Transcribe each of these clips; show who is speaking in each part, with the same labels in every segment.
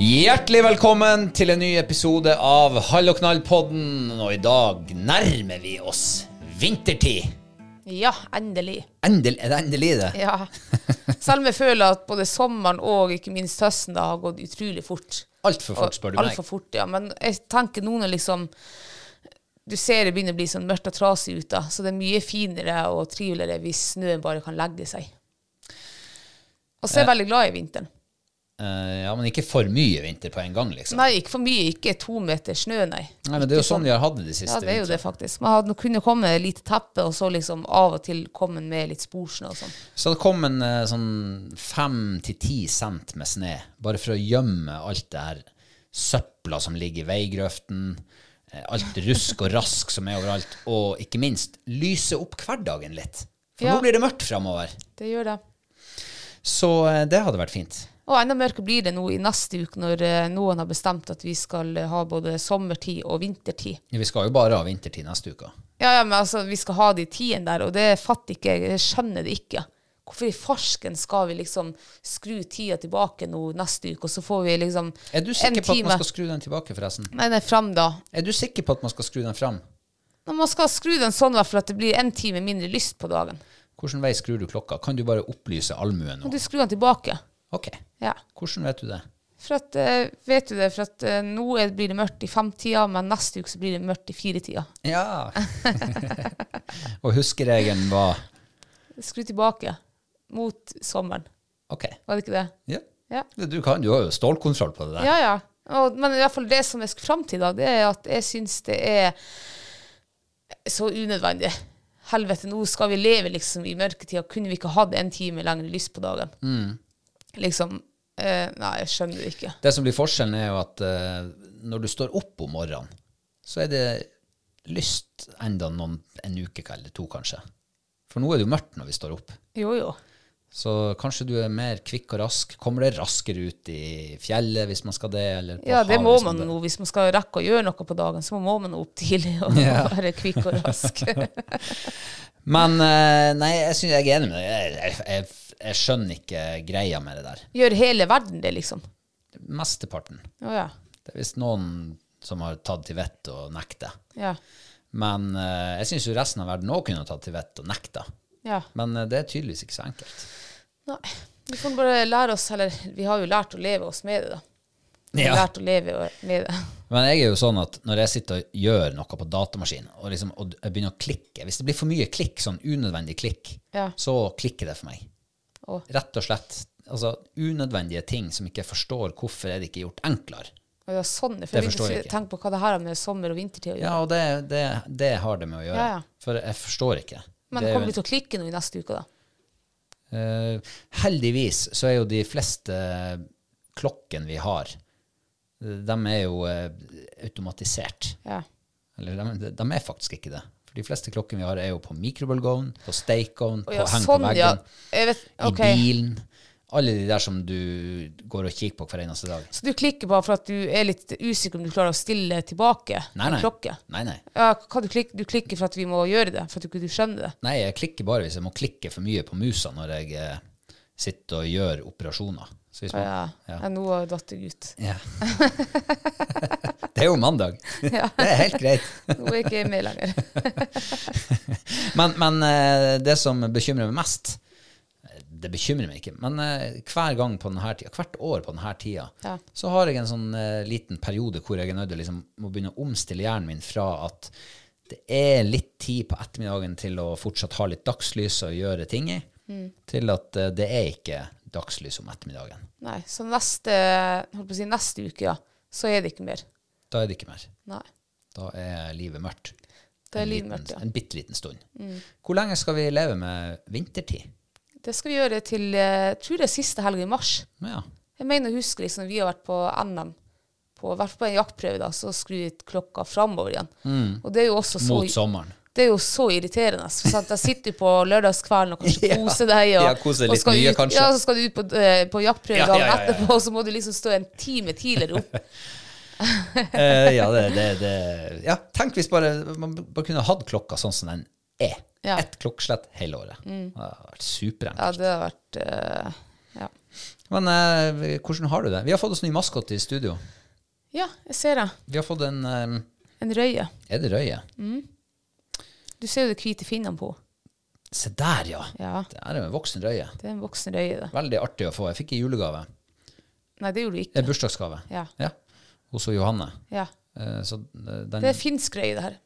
Speaker 1: Hjertelig velkommen til en ny episode av Hall og knall-podden. Og i dag nærmer vi oss vintertid.
Speaker 2: Ja, endelig.
Speaker 1: Endel, er det endelig det?
Speaker 2: Ja. Selv om jeg føler at både sommeren og ikke minst høsten da har gått utrolig fort.
Speaker 1: Altfor fort, spør du
Speaker 2: Og
Speaker 1: meg.
Speaker 2: Altfor fort, ja. Men jeg tenker nå når liksom Du ser det begynner å bli sånn mørkt og trasig ute, så det er mye finere og triveligere hvis snøen bare kan legge seg. Og så er jeg veldig glad i vinteren.
Speaker 1: Eh, ja, men ikke for mye vinter på en gang, liksom. Nei,
Speaker 2: Nei, ikke for mye. Ikke to meter snø, nei.
Speaker 1: men Det er jo sånn vi har hatt det de siste
Speaker 2: Ja, det er jo det,
Speaker 1: vintrene.
Speaker 2: faktisk. Man hadde kunne komme med et lite teppe, og så liksom av og til komme med litt sporsnø og sånn.
Speaker 1: Så det kom en eh, sånn fem til ti cent med snø, bare for å gjemme alt det her søpla som ligger i veigrøften. eh, Alt rusk og rask som er overalt, og ikke minst lyse opp hverdagen litt. For
Speaker 2: Ja.
Speaker 1: nå blir det mørkt framover.
Speaker 2: Det gjør det.
Speaker 1: Så eh, det hadde vært fint.
Speaker 2: Og enda mørkere blir det nå i neste uke, når eh, noen har bestemt at vi skal eh, ha både sommertid og vintertid.
Speaker 1: Vi skal jo bare ha vintertid neste uke.
Speaker 2: Ja, ja, men altså, vi skal ha de tidene der, og det fatter ikke jeg. Jeg skjønner det ikke. Hvorfor i farsken skal vi liksom skru tida tilbake nå neste uke, og så får vi liksom
Speaker 1: Er du sikker på at man skal skru den tilbake, forresten?
Speaker 2: Nei, nei, fram da.
Speaker 1: Er du sikker på at man skal skru den fram?
Speaker 2: Men man skal skru den sånn i hvert fall at det blir en time mindre lyst på dagen.
Speaker 1: Hvilken vei skrur du klokka? Kan du bare opplyse allmuen
Speaker 2: Kan
Speaker 1: nå?
Speaker 2: du skru den tilbake?
Speaker 1: Ok.
Speaker 2: Ja.
Speaker 1: Hvordan vet du det?
Speaker 2: For at, eh, vet du det, for at eh, nå er- blir det mørkt i femtida, men neste uke så blir det mørkt i firetida.
Speaker 1: Ja. Og huskeregelen var
Speaker 2: Skru tilbake mot sommeren.
Speaker 1: Ok.
Speaker 2: Var det ikke det?
Speaker 1: Ja.
Speaker 2: Ja.
Speaker 1: Du, kan, du har jo stålkontroll på det der.
Speaker 2: Ja, ja. Og, men i hvert fall det som jeg skal fram til, da, det er at jeg syns det er så unødvendig. Helvete, nå skal vi leve liksom i mørketida. Kunne vi ikke hatt en time lengre lyst på dagen? Liksom eh, Nei, jeg skjønner det ikke.
Speaker 1: Det som blir forskjellen, er jo at eh, når du står opp om morgenen, så er det lyst enda noen, en uke eller to, kanskje. For nå er det jo mørkt når vi står opp.
Speaker 2: Jo, jo.
Speaker 1: Så kanskje du er mer kvikk og rask. Kommer det raskere ut i fjellet hvis man skal det? Eller på
Speaker 2: Ja, liksom det
Speaker 1: havet
Speaker 2: må
Speaker 1: hvis
Speaker 2: man
Speaker 1: bør?
Speaker 2: nå. Hvis man skal rekke å gjøre noe på dagen, så må man nå opp tidlig og være kvikk og rask.
Speaker 1: Men eh, nei, jeg, synes, jeg er enig med deg. Jeg, jeg, jeg, jeg skjønner ikke greia med det der.
Speaker 2: Gjør hele verden det, liksom.
Speaker 1: Mesteparten.
Speaker 2: Å ja.
Speaker 1: Det er visst noen som har tatt til vettet og nekter.
Speaker 2: Ja.
Speaker 1: Men eh, jeg syns jo resten av verden òg kunne ha tatt til vettet og nekta.
Speaker 2: ja.
Speaker 1: Men eh, det er tydeligvis ikke så enkelt.
Speaker 2: Nei. Vi kan bare lære oss, eller vi har jo lært å leve oss med det, da. Vi har
Speaker 1: Ja.
Speaker 2: lært å leve med det.
Speaker 1: Men jeg er jo sånn at når jeg sitter og gjør noe på datamaskinen, og, liksom, og jeg begynner å klikke Hvis det blir for mye klikk, sånn unødvendig klikk,
Speaker 2: Ja.
Speaker 1: så klikker det for meg.
Speaker 2: Å.
Speaker 1: Rett og slett. altså, unødvendige ting som ikke forstår hvorfor er det ikke gjort enklere.
Speaker 2: Og ja, sånn, for
Speaker 1: Det
Speaker 2: jeg
Speaker 1: forstår
Speaker 2: begynte
Speaker 1: jeg
Speaker 2: å si-
Speaker 1: ikke.
Speaker 2: tenke på hva det her har med sommer- og vintertid å gjøre.
Speaker 1: Ja, og det, det, det har det med å gjøre.
Speaker 2: Ja, ja.
Speaker 1: For jeg forstår ikke.
Speaker 2: Men
Speaker 1: det er jo-
Speaker 2: kommer vi til å klikke nå i neste uke, da?
Speaker 1: Eh, heldigvis så er jo de fleste klokkene vi har, de er jo eh, automatisert.
Speaker 2: Ja.
Speaker 1: Eller de, de er faktisk ikke det. For de fleste klokkene vi har, er jo på mikrobølgeovn, på stekeovn,
Speaker 2: Å
Speaker 1: på
Speaker 2: ja,
Speaker 1: heng
Speaker 2: sånn,
Speaker 1: på
Speaker 2: ja.
Speaker 1: veggen,
Speaker 2: Jeg vet, ok.
Speaker 1: i bilen. Alle de der som du går og kikker på hver eneste dag.
Speaker 2: Så du klikker bare for at du er litt usikker om du klarer å stille tilbake
Speaker 1: Nei,
Speaker 2: en
Speaker 1: nei.
Speaker 2: klokke?
Speaker 1: Nei, nei.
Speaker 2: Ja, hva du, klikker, du klikker for at vi må gjøre det, for at du ikke du skjønner det?
Speaker 1: Nei, jeg klikker bare hvis jeg må klikke for mye på musa når jeg eh, sitter og gjør operasjoner. Så hvis
Speaker 2: Å
Speaker 1: man,
Speaker 2: ja. ja. Nå har jeg datt jeg ut.
Speaker 1: Ja. det er jo mandag. Det er helt greit.
Speaker 2: Nå er jeg ikke med lenger.
Speaker 1: Men, men eh, det som bekymrer meg mest eh, Det bekymrer meg ikke, men eh, hver gang på denne tida, hvert år på denne tida,
Speaker 2: Ja.
Speaker 1: så har jeg en sånn eh, liten periode hvor jeg er nødt til liksom, å begynne å omstille hjernen min fra at det er litt tid på ettermiddagen til å fortsatt ha litt dagslys og gjøre ting i,
Speaker 2: Mm.
Speaker 1: til at eh, det er ikke dagslys om ettermiddagen.
Speaker 2: Nei, så neste, holdt på å si, neste uke, ja, så er det ikke mer.
Speaker 1: Da er det ikke mer.
Speaker 2: Nei.
Speaker 1: Da er livet mørkt.
Speaker 2: Da er
Speaker 1: En
Speaker 2: livet
Speaker 1: liten-
Speaker 2: mørkt, ja. Mm.
Speaker 1: En bitte liten stund. Hvor lenge skal vi leve med vintertid?
Speaker 2: Det skal vi gjøre til eh, tror det er siste helg i mars.
Speaker 1: Ja.
Speaker 2: Jeg mener å huske liksom, vi har vært på NM, på, vært på en jaktprøve, da, så skrur vi klokka framover igjen.
Speaker 1: Mm.
Speaker 2: Og det er jo også så,
Speaker 1: Mot sommeren.
Speaker 2: det er jo så irriterende. altså, For sant? Jeg sitter jo på lørdagskvelden og kanskje
Speaker 1: Ja.
Speaker 2: koser deg. Og,
Speaker 1: Ja, koser litt
Speaker 2: og skal
Speaker 1: mye,
Speaker 2: ut,
Speaker 1: kanskje.
Speaker 2: Ja, så skal du ut på, eh, på jaktprøve
Speaker 1: Ja,
Speaker 2: dagen
Speaker 1: ja, ja, ja.
Speaker 2: etterpå, og så må du liksom stå en time tidligere opp.
Speaker 1: Eh, ja, det, det, det Ja, tenk hvis bare man bare kunne hatt klokka sånn som den er.
Speaker 2: Ja. Mm.
Speaker 1: Ett klokkeslett hele året. Det hadde vært superenkelt.
Speaker 2: Ja, det har vært eh, ja.
Speaker 1: Men eh, hvordan har du det? Vi har fått oss ny maskot i studio.
Speaker 2: ja, jeg ser det.
Speaker 1: Vi har fått en eh,
Speaker 2: En røye.
Speaker 1: Er det røye?
Speaker 2: Mm. Du ser jo de hvite finnene på henne.
Speaker 1: Se der, ja.
Speaker 2: Ja,
Speaker 1: Det er jo en voksen røye.
Speaker 2: det er en voksen røye, det.
Speaker 1: Veldig artig å få. Jeg fikk i julegave.
Speaker 2: Nei, det gjorde du
Speaker 1: Eh,
Speaker 2: ikke.
Speaker 1: bursdagsgave.
Speaker 2: Ja.
Speaker 1: ja. Hos Johanne.
Speaker 2: ja.
Speaker 1: Eh, så eh, den
Speaker 2: Det Mm. er finsk røye, det her.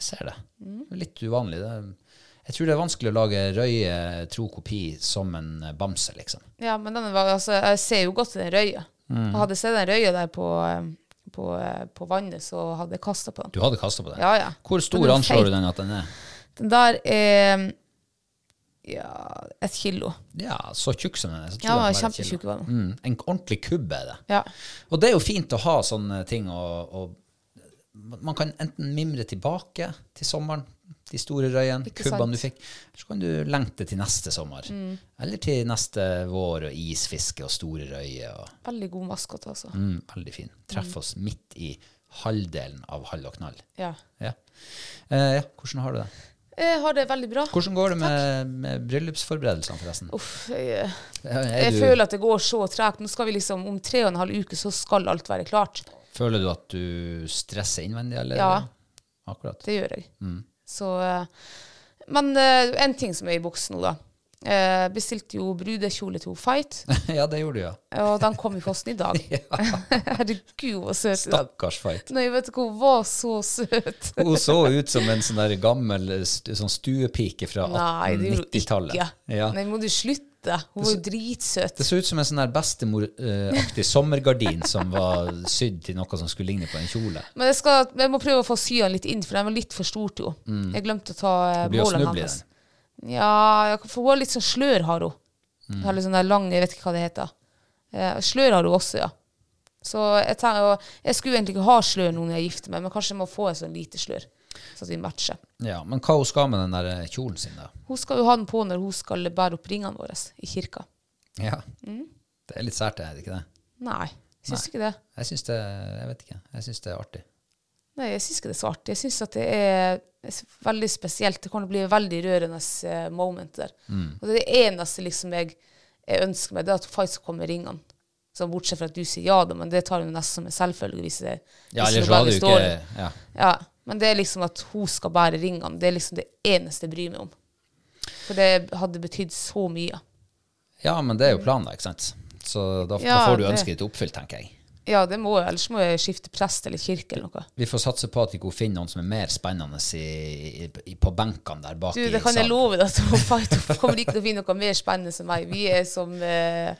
Speaker 1: Jeg ser det. Det er Litt uvanlig. Det er, jeg tror det er vanskelig å lage røye tro kopi som en eh, bamse, liksom.
Speaker 2: Ja, men den var, altså, jeg ser jo godt den røya.
Speaker 1: Mm.
Speaker 2: Og hadde jeg sett den røya der på, eh, på, eh, på vannet, så hadde jeg kasta på den.
Speaker 1: Du hadde kasta på den.
Speaker 2: Ja, ja.
Speaker 1: Hvor
Speaker 2: Den
Speaker 1: stor
Speaker 2: er
Speaker 1: anslår
Speaker 2: feit.
Speaker 1: du den at den er?
Speaker 2: Den der er ja, et kilo.
Speaker 1: Ja, så tjukk som den er. Så tror jeg
Speaker 2: Ja, den
Speaker 1: den er
Speaker 2: var
Speaker 1: et kilo.
Speaker 2: kjempetjukk, var den.
Speaker 1: Mm, en ordentlig kubbe er det.
Speaker 2: Ja.
Speaker 1: Og det er jo fint å ha sånne ting å, å Man kan enten mimre tilbake til sommeren, de store røyene,
Speaker 2: Ikke sant. Mm.
Speaker 1: kubbene du fikk, eller så kan du lengte til neste sommer. Eller til neste vår og isfiske og store røyer. Og
Speaker 2: Veldig god maskot, altså.
Speaker 1: Mm, veldig fin. Treff oss midt i halvdelen av Hall og knall.
Speaker 2: Ja.
Speaker 1: Ja. Eh, ja, hvordan har du det?
Speaker 2: Jeg har det veldig bra.
Speaker 1: Hvordan går det med, med bryllupsforberedelsene, forresten?
Speaker 2: Uff, jeg,
Speaker 1: Er
Speaker 2: Oh, jeg
Speaker 1: du,
Speaker 2: føler at det går så tregt. Nå skal vi liksom, Om tre og en halv uke så skal alt være klart.
Speaker 1: føler du at du stresser innvendig, eller?
Speaker 2: Ja.
Speaker 1: Akkurat.
Speaker 2: Det gjør jeg.
Speaker 1: Mm.
Speaker 2: Så, eh, men eh, en ting som er i boks nå, da. Eh, Bestilte jo brudekjole til Fight.
Speaker 1: ja, det gjorde du, ja.
Speaker 2: Og den kom i posten i dag. Herregud, hvor søt den
Speaker 1: Stakkars fight.
Speaker 2: Nei, vet du hva, hun var så søt.
Speaker 1: Hun så ut som en sånn der gammel st- sånn stuepike fra
Speaker 2: Nei, det gjorde hun
Speaker 1: 1890-tallet.
Speaker 2: ikke.
Speaker 1: Ja.
Speaker 2: Nei, må du slutte. Hun var jo dritsøt.
Speaker 1: Det så ut som en sånn der bestemor-aktig sommergardin som var sydd til noe som skulle ligne på en kjole.
Speaker 2: Men jeg, skal, jeg må prøve å få sy den litt inn, for den var litt for stor til henne. Jeg glemte å ta eh,
Speaker 1: Mm. Det blir å
Speaker 2: målene
Speaker 1: snuble i
Speaker 2: hennes.
Speaker 1: den.
Speaker 2: Ja, jeg- for hun har litt sånn slør, har hun.
Speaker 1: Mm.
Speaker 2: Hun har litt sånn der lang, jeg vet ikke hva det heter. Eh, slør har hun også, ja. Så jeg, tenker, og jeg skulle egentlig ikke ha slør nå når jeg gifter meg, men kanskje jeg må få en sånn lite slør, sånn at vi matcher.
Speaker 1: Ja, men hva hun skal med den der eh, kjolen sin, da?
Speaker 2: Hun skal jo ha den på når hun skal bære opp ringene våre i kirka.
Speaker 1: Ja.
Speaker 2: Mm.
Speaker 1: Det er litt sært, er det ikke det?
Speaker 2: Nei, jeg syns ikke det.
Speaker 1: Jeg syns det Jeg vet ikke. Jeg syns det er artig.
Speaker 2: Nei, jeg syns ikke det er så artig. Jeg syns at det er s- veldig spesielt. Det kan bli et veldig rørende eh, moment der.
Speaker 1: Mm.
Speaker 2: Og det er det eneste liksom jeg, jeg ønsker meg, det er at Faiz skal komme med ringene. Sånn, bortsett fra at du sier ja, da, men det tar hun nesten som en selvfølge. Hvis det,
Speaker 1: Ja,
Speaker 2: hvis
Speaker 1: ellers
Speaker 2: det
Speaker 1: så
Speaker 2: bare
Speaker 1: hadde du
Speaker 2: står
Speaker 1: ikke
Speaker 2: der.
Speaker 1: ja.
Speaker 2: Ja, Men det er liksom at hun skal bære ringene. Det er liksom det eneste jeg bryr meg om. For det hadde betydd så mye.
Speaker 1: ja, men det er jo planen, da, ikke sant? Så da,
Speaker 2: Ja,
Speaker 1: da får du
Speaker 2: det-
Speaker 1: ønsket ditt oppfylt, tenker jeg.
Speaker 2: Ja, det må jeg. Ellers må jeg skifte prest eller kirke eller noe.
Speaker 1: Vi får satse på at vi går finne noen som er mer spennende i, i, på benkene der bak.
Speaker 2: Du,
Speaker 1: i
Speaker 2: det kan jeg
Speaker 1: salen.
Speaker 2: love deg. at Hun fight- hun kommer ikke til å finne noe mer spennende enn meg. Vi er som eh,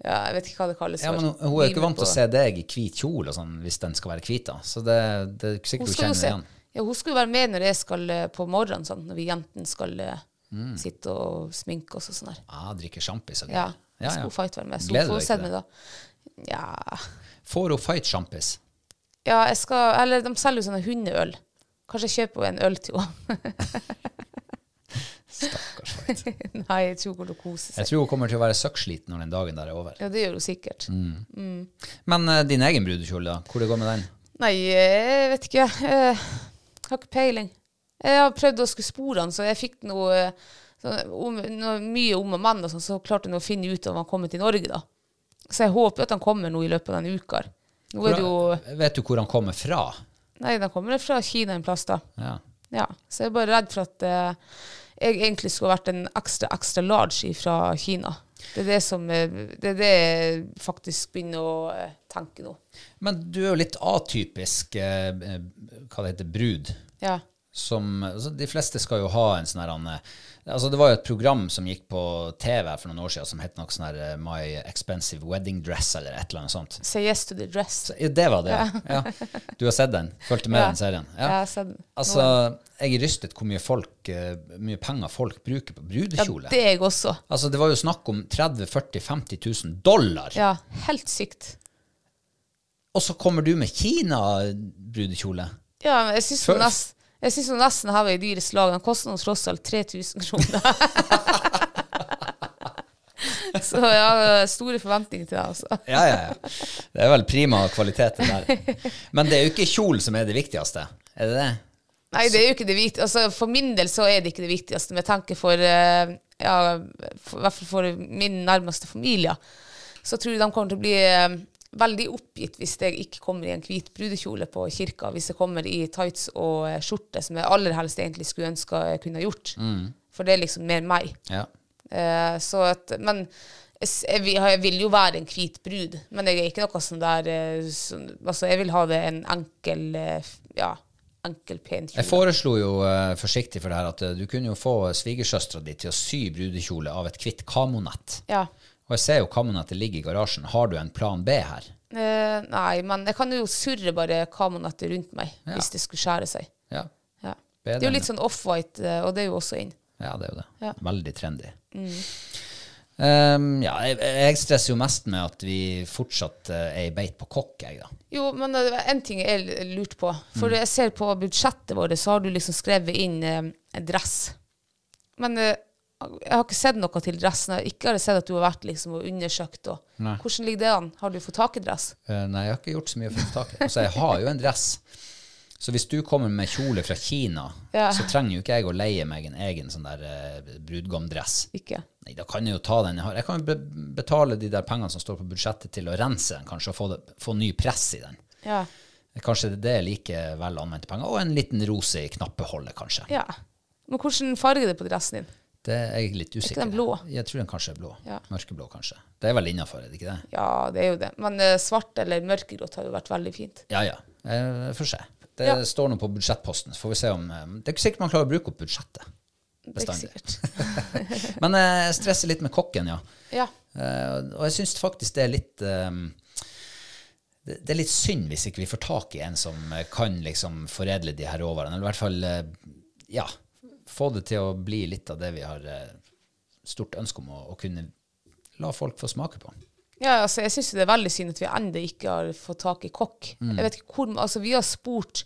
Speaker 2: ja, Jeg vet ikke hva det kalles.
Speaker 1: Ja,
Speaker 2: for.
Speaker 1: men hun- Hun er jo
Speaker 2: Vi
Speaker 1: ikke vant til å
Speaker 2: på-
Speaker 1: se deg i hvit kjole og sånn, hvis den skal være hvit. da. Så det, det er ikke
Speaker 2: Hun
Speaker 1: sikkert hun
Speaker 2: skal jo
Speaker 1: kjenner
Speaker 2: se.
Speaker 1: det igjen.
Speaker 2: Ja, hun skal jo være med når jeg skal eh, på morgenen, sånn, når vi jentene skal eh,
Speaker 1: Mm.
Speaker 2: sitte og sminke oss og sånn der.
Speaker 1: Ah, drikker sjampis og
Speaker 2: Ja,
Speaker 1: greier.
Speaker 2: ja, skal hun fight være med. Så hun
Speaker 1: Gleder
Speaker 2: får
Speaker 1: deg
Speaker 2: se
Speaker 1: til
Speaker 2: meg
Speaker 1: det.
Speaker 2: da. Ja.
Speaker 1: Får hun fight-sjampis?
Speaker 2: ja, jeg skal Eller de selger jo sånne hundeøl. Kanskje jeg kjøper en øl til henne.
Speaker 1: Stakkars fight.
Speaker 2: Nei, jeg tror hun kommer til å kose
Speaker 1: Jeg
Speaker 2: seg.
Speaker 1: tror hun kommer til å være søkksliten når den dagen der er over.
Speaker 2: Ja, det gjør hun sikkert.
Speaker 1: Mm. Men eh, din egen brudekjole, da? Hvor det går med den?
Speaker 2: Nei, jeg vet ikke. Jeg har ikke peiling. Jeg har prøvd å skulle spore han, så jeg fikk noe, eh, sånn om, noe mye om og menn, og sånn, så klarte han å finne ut om han kommer til Norge, da. Så jeg håper jo at han kommer nå i løpet av denne uka. her. Nå er det jo
Speaker 1: Hvor- Vet du hvor han kommer fra?
Speaker 2: Nei, han kommer fra Kina en plass, da.
Speaker 1: Ja.
Speaker 2: Ja, så jeg er bare redd for at eh, jeg egentlig skulle vært en ekstra, ekstra large fra Kina. Det er det som eh, Det er det jeg faktisk begynner å eh, tenke nå.
Speaker 1: Men du er jo litt atypisk eh, eh, hva det heter, brud.
Speaker 2: Ja.
Speaker 1: Som, altså, de fleste skal jo ha en sånn her han, eh, altså, Det var jo et program som gikk på TV her for noen år siden som het noe sånn her eh, My Expensive Wedding Dress eller et eller annet sånt.
Speaker 2: Say yes to the dress.
Speaker 1: Ja, Det var det. Ja. Du har sett den? Fulgte med
Speaker 2: Ja.
Speaker 1: den serien?
Speaker 2: Jeg har sett den.
Speaker 1: Altså, jeg er rystet hvor mye, folk, eh, mye penger folk bruker på
Speaker 2: Ja,
Speaker 1: brudekjole.
Speaker 2: det er jeg også.
Speaker 1: Altså, det var jo snakk om 30 40 50 000 dollar.
Speaker 2: Ja, helt sykt.
Speaker 1: Og så kommer du med Kina-brudekjole.
Speaker 2: Ja, men jeg syns
Speaker 1: Før-
Speaker 2: hun nesten jeg synes hun nesten her var i dyrest lag. Den koster nå tross alt 3000 kroner. Så jeg har store forventninger til deg, altså.
Speaker 1: Ja, ja, ja. Det er vel prima kvalitet, det der. Men det er jo ikke kjol som er det viktigste. Er det det?
Speaker 2: Nei, det er jo ikke det viktigste. Altså, for min del så er det ikke det viktigste, men jeg tenker for eh, ja, for, i hvert fall for min nærmeste familie, så tror jeg de kommer til å bli eh, veldig oppgitt hvis jeg ikke kommer i en hvit brudekjole på kirka, hvis jeg kommer i tights og eh, skjorte, som jeg aller helst egentlig skulle ønske jeg kunne ha gjort. For det er liksom mer meg.
Speaker 1: Ja.
Speaker 2: Eh, så at, men jeg, s- jeg, vil- jeg vil jo være en hvit brud, men jeg er ikke noe sånn der eh, sånn, Altså, jeg vil ha det en enkel, eh, f- ja, enkel, pen
Speaker 1: Jeg
Speaker 2: kjole.
Speaker 1: foreslo jo eh, forsiktig for det her at eh, du kunne jo få svigersøstera di til å sy brudekjole av et hvitt kamonett.
Speaker 2: Ja.
Speaker 1: Og jeg ser jo kamonettet ligger i garasjen. Har du en plan B her?
Speaker 2: Eh, nei, men jeg kan jo surre bare kamonettet rundt meg hvis det skulle skjære seg.
Speaker 1: Ja,
Speaker 2: Ja.
Speaker 1: Bedre
Speaker 2: Det er jo
Speaker 1: enn-
Speaker 2: litt sånn off-white, eh, og det er jo også inn.
Speaker 1: ja det er jo det.
Speaker 2: Ja.
Speaker 1: Veldig trendy. Um, ja, jeg, jeg stresser jo mest med at vi fortsatt eh, er i beit på kokk, jeg, da.
Speaker 2: Jo, men eh, det var en ting jeg l- lurte på. For
Speaker 1: Mm.
Speaker 2: jeg ser på budsjettet vårt, så har du liksom skrevet inn eh, en dress. Men eh, jeg har ikke sett noe til dressen. Jeg har ikke sett at du har vært liksom og undersøkt. Og.
Speaker 1: Nei.
Speaker 2: Hvordan ligger det an? Har du fått tak i dress?
Speaker 1: Eh, nei, jeg har ikke gjort så mye for å få tak i. Altså, jeg har jo en dress. Så hvis du kommer med kjole fra Kina,
Speaker 2: Ja.
Speaker 1: så trenger jo ikke jeg å leie meg en egen sånn der eh, brudgomdress.
Speaker 2: Ikke?
Speaker 1: Nei, da kan jeg jo ta den jeg har. Jeg kan jo be betale de der pengene som står på budsjettet til å rense den, kanskje, og få, det, få ny press i den.
Speaker 2: Ja.
Speaker 1: Kanskje det er like vel anvendte penger. Og en liten rose i knappeholdet, kanskje.
Speaker 2: ja. Men hvordan farge er det på dressen din?
Speaker 1: Det er jeg litt usikker.
Speaker 2: den blå?
Speaker 1: Jeg tror den kanskje er blå.
Speaker 2: Ja.
Speaker 1: Mørkeblå, kanskje. Det er vel innafor, er det ikke det?
Speaker 2: Ja, det er jo det. Men eh, svart eller mørkegrått har jo vært veldig fint.
Speaker 1: Ja, ja. Eh, Får se. Det
Speaker 2: Ja.
Speaker 1: står nå på budsjettposten. Så får vi se om eh, Det er ikke sikkert man klarer å bruke opp budsjettet.
Speaker 2: Det er ikke
Speaker 1: Bestandig.
Speaker 2: sikkert.
Speaker 1: Men eh, jeg stresser litt med kokken, ja.
Speaker 2: Ja.
Speaker 1: Eh, Og jeg syns faktisk det er litt eh, det det er litt synd hvis ikke vi får tak i en som eh, kan liksom foredle de her råvarene. Eller i hvert fall eh, ja, få det til å bli litt av det vi har eh, stort ønske om å, å kunne la folk få smake på.
Speaker 2: Ja, altså jeg syns det er veldig synd at vi ennå ikke har fått tak i kokk. Jeg vet ikke hvor, altså Vi har spurt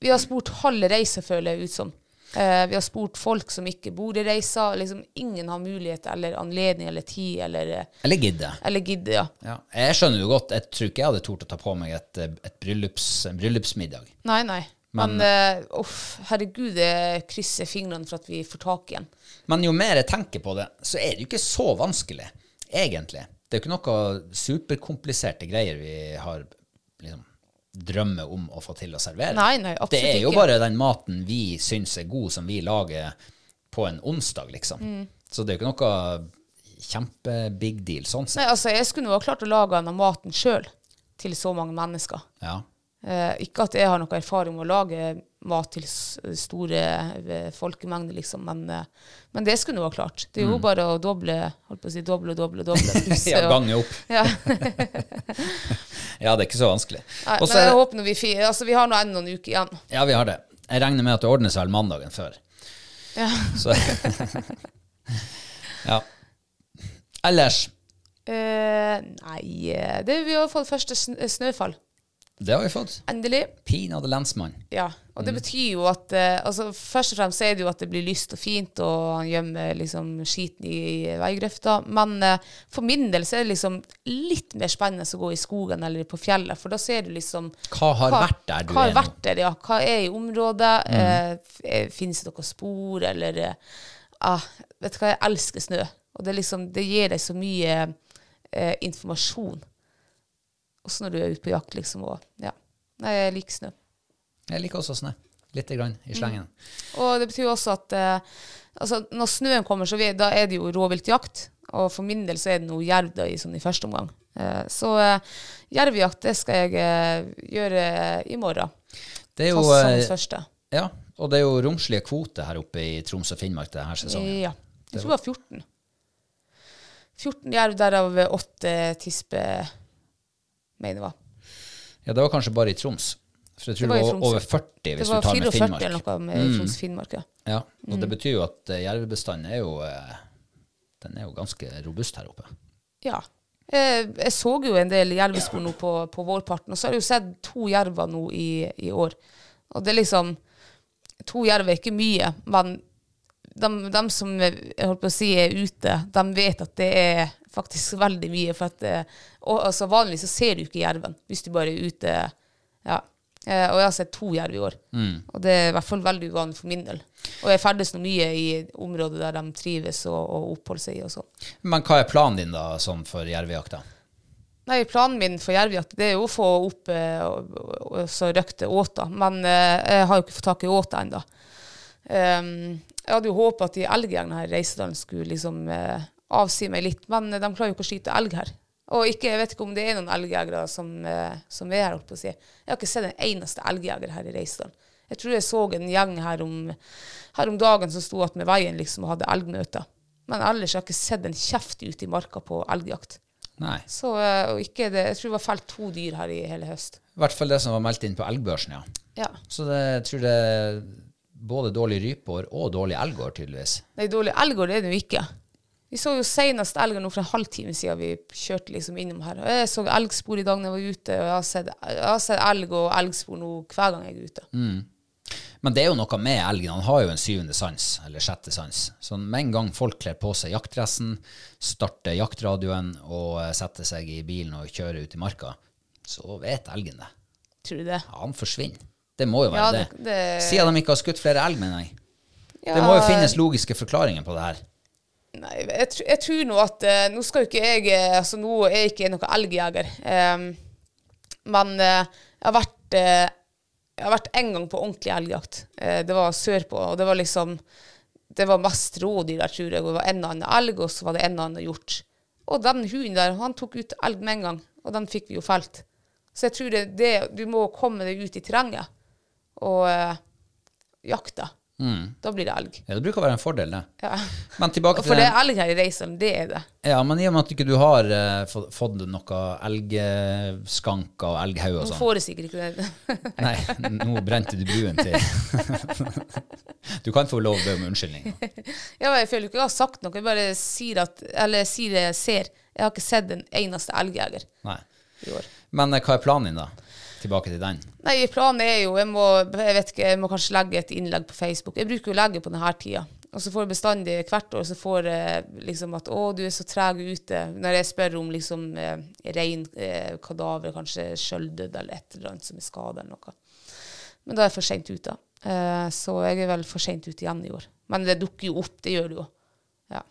Speaker 2: Vi har spurt halve reisa, føler jeg ut som. Eh, vi har spurt folk som ikke bor i reisa. Liksom Ingen har mulighet eller anledning eller tid eller, eh,
Speaker 1: Eller gidde.
Speaker 2: eller gidde. ja.
Speaker 1: Ja. Jeg skjønner jo godt. Jeg tror ikke jeg hadde tort å ta på meg et, eh, et bryllups, en bryllupsmiddag.
Speaker 2: Nei, nei. Men, eh, uff, herregud, jeg krysser fingrene for at vi får tak i en.
Speaker 1: Men jo mer jeg tenker på det, så er det jo ikke så vanskelig, egentlig. Det er jo ikke noe superkompliserte greier vi har liksom, drømmer om å få til å servere.
Speaker 2: Nei, nei, absolutt
Speaker 1: Det er jo
Speaker 2: ikke.
Speaker 1: bare den maten vi syns er god, som vi lager på en onsdag, liksom.
Speaker 2: Mm.
Speaker 1: Så det er jo ikke noe kjempe-big deal sånn sett.
Speaker 2: Nei, altså, jeg skulle jo ha klart å lage den av maten sjøl. til så mange mennesker.
Speaker 1: Ja.
Speaker 2: Eh, ikke at jeg har noe erfaring med å lage mat til s- store eh, folkemengder, liksom, men, eh, men det skulle nå ha klart. Det er jo bare å doble, holdt på å si, doble og doble og doble. Plusse
Speaker 1: Mm. ja
Speaker 2: og-
Speaker 1: gange opp.
Speaker 2: Ja.
Speaker 1: Ja, det er ikke så vanskelig.
Speaker 2: Nei,
Speaker 1: Og så
Speaker 2: men
Speaker 1: er
Speaker 2: jeg
Speaker 1: det-
Speaker 2: håper nå vi fi- Altså, vi har nå ennå noen uker igjen.
Speaker 1: Ja, vi har det. Jeg regner med at det ordner seg vel mandagen før.
Speaker 2: Ja.
Speaker 1: Så Ja. Ellers
Speaker 2: Eh, nei eh, det, Vi har fått første sn- eh, snøfall.
Speaker 1: Det har vi fått.
Speaker 2: Endelig.
Speaker 1: Pinadø lensmann.
Speaker 2: Ja. Og det
Speaker 1: Mm.
Speaker 2: betyr jo at eh, altså, Først og fremst er det jo at det blir lyst og fint, og han gjemmer liksom skiten i, i veigrøfta. Men eh, for min del så er det liksom litt mer spennende å gå i skogen eller på fjellet, for da ser du liksom
Speaker 1: Hva har vært der du
Speaker 2: hva
Speaker 1: er
Speaker 2: har
Speaker 1: nå? Mm.
Speaker 2: vært der, ja. Hva er i området? Eh, Fins det noen spor, eller eh, ah, Vet du hva, jeg elsker snø. Og det, er liksom, det gir deg så mye eh, informasjon. Også når du er ute på jakt, liksom. Og, ja. Nei, jeg liker snø.
Speaker 1: Jeg liker også snø. Lite grann
Speaker 2: Mm.
Speaker 1: i slengen.
Speaker 2: Og det betyr jo også at eh, altså, når snøen kommer, så vi, da er det jo rovviltjakt. Og for min del så er det noe jerv da, i, sånn, i første omgang. Eh, så eh, jervjakt, det skal jeg eh, gjøre i morgen.
Speaker 1: Det er
Speaker 2: Ta
Speaker 1: jo
Speaker 2: sesongens
Speaker 1: eh,
Speaker 2: første.
Speaker 1: Ja, og det er jo romslige kvoter her oppe i Troms og Finnmark denne sesongen.
Speaker 2: Ja. Jeg tror det var 14. 14 jerv, derav 8 tisper, mener jeg. var.
Speaker 1: Ja, det var kanskje bare i Troms. For jeg
Speaker 2: Det
Speaker 1: tror
Speaker 2: var
Speaker 1: det
Speaker 2: i
Speaker 1: var
Speaker 2: Troms,
Speaker 1: over
Speaker 2: ja.
Speaker 1: 40
Speaker 2: Det
Speaker 1: hvis du
Speaker 2: var
Speaker 1: tar med
Speaker 2: 44 eller
Speaker 1: Finnmark. Mm.
Speaker 2: noe Mm. med Troms Finnmark, ja.
Speaker 1: Ja, og det betyr jo at eh, jervebestanden er jo eh, Den er jo ganske robust her oppe.
Speaker 2: Ja. Eh, Jeg så jo en del jervespor nå på, på vårparten, og så har jeg jo sett to jerver nå i, i år. Og det er liksom To jerv er ikke mye, men de, som jeg holdt på å si er ute, de vet at det er faktisk veldig mye. For at, eh, og, altså, vanligvis så ser du ikke jerven hvis du bare er ute. Ja. Eh, Og jeg har sett to jerv i år, og det er i hvert fall veldig uvanlig for min del. Og jeg ferdes nå mye i områder der de trives og, og oppholder seg i og sånn.
Speaker 1: Men hva er planen din da, sånn for jervejakta?
Speaker 2: Nei, planen min for jervjakt det er jo å få opp eh, og, og, og så røkte åta, men eh, jeg har jo ikke fått tak i åta ennå. Ehm, jeg hadde jo håpa at de elgjegerne her i Reisedalen skulle liksom eh, avsi meg litt, men eh, de klarer jo ikke å skyte elg her. Og ikke, jeg vet ikke om det er noen elgjegere som, eh, som er her. holdt på å si. Jeg har ikke sett en eneste elgjeger her i Reisedalen. Jeg tror jeg så en gjeng her om, her om dagen som sto attmed veien liksom, og hadde elgmøter. Men ellers har jeg ikke sett en kjeft ute i marka på elgjakt.
Speaker 1: Nei.
Speaker 2: Så, eh, og ikke det, jeg tror det var felt to dyr her i hele høst.
Speaker 1: I hvert fall det som var meldt inn på elgbørsen, ja.
Speaker 2: Ja.
Speaker 1: Så det, jeg tror det er både dårlig rypeår og dårlig elgår, tydeligvis.
Speaker 2: Nei, dårlig elgård er det jo ikke. Vi så jo senest elger nå for en halvtime siden vi kjørte liksom innom her. Og jeg så elgspor i dag da jeg var ute, og jeg har sett, jeg har sett elg og elgspor nå hver gang jeg er ute.
Speaker 1: Men det er jo noe med elgen. Han har jo en syvende sans, eller sjette sans. Så med en gang folk kler på seg jaktdressen, starter jaktradioen og eh, setter seg i bilen og kjører ut i marka, så vet elgen det.
Speaker 2: Tror du det?
Speaker 1: Ja, han forsvinner. Det må jo være
Speaker 2: Ja,
Speaker 1: det.
Speaker 2: det- det-
Speaker 1: Siden de ikke har skutt flere elg, mener jeg.
Speaker 2: Ja,
Speaker 1: Det må jo finnes logiske forklaringer på det her.
Speaker 2: Nei, jeg, tr- jeg tror nå at eh, Nå skal jo ikke jeg eh, Altså, nå er jeg ikke noen elgjeger. Ehm, men eh, jeg har vært eh, Jeg har vært en gang på ordentlig elgjakt. Eh, det var sørpå, og det var liksom Det var mest rådyr der, tror jeg. Og det var en og annen elg, og så var det en og annen hjort. Og den hunden der, han tok ut elg med en gang, og den fikk vi jo felt. Så jeg tror det, det Du må komme deg ut i terrenget og eh, jakte. Da blir det elg.
Speaker 1: Ja, det bruker å være en fordel, det.
Speaker 2: Ja.
Speaker 1: Men tilbake
Speaker 2: Og
Speaker 1: til
Speaker 2: for det
Speaker 1: den,
Speaker 2: er elg her i Reisdalen, det er det.
Speaker 1: ja, men i og med at ikke du har eh, fått, fått noe elgskanker og elghauger og
Speaker 2: Hun
Speaker 1: sånn
Speaker 2: får det sikkert ikke det.
Speaker 1: Nei, nå brente du buen til. Du kan få lov å be om unnskyldning.
Speaker 2: Ja, men jeg føler jo ikke jeg har sagt noe, jeg bare sier, at, eller jeg sier det jeg ser. Jeg har ikke sett en eneste elgjeger
Speaker 1: Nei.
Speaker 2: i år.
Speaker 1: Men eh, hva er planen din, da? Tilbake til den.
Speaker 2: Nei, planen er jo jeg må, jeg vet ikke, jeg må kanskje legge et innlegg på Facebook. Jeg bruker jo å legge på denne tida. Og så får jeg bestandig hvert år så får jeg liksom at 'Å, du er så treg ute'. Når jeg spør om liksom eh, reinkadaver, eh, kadaver, kanskje sjøldød eller et eller annet som er skada eller noe. Men da er jeg for seint ute. Eh, så jeg er vel for seint ute igjen i år. Men det dukker jo opp, det gjør det jo. Ja.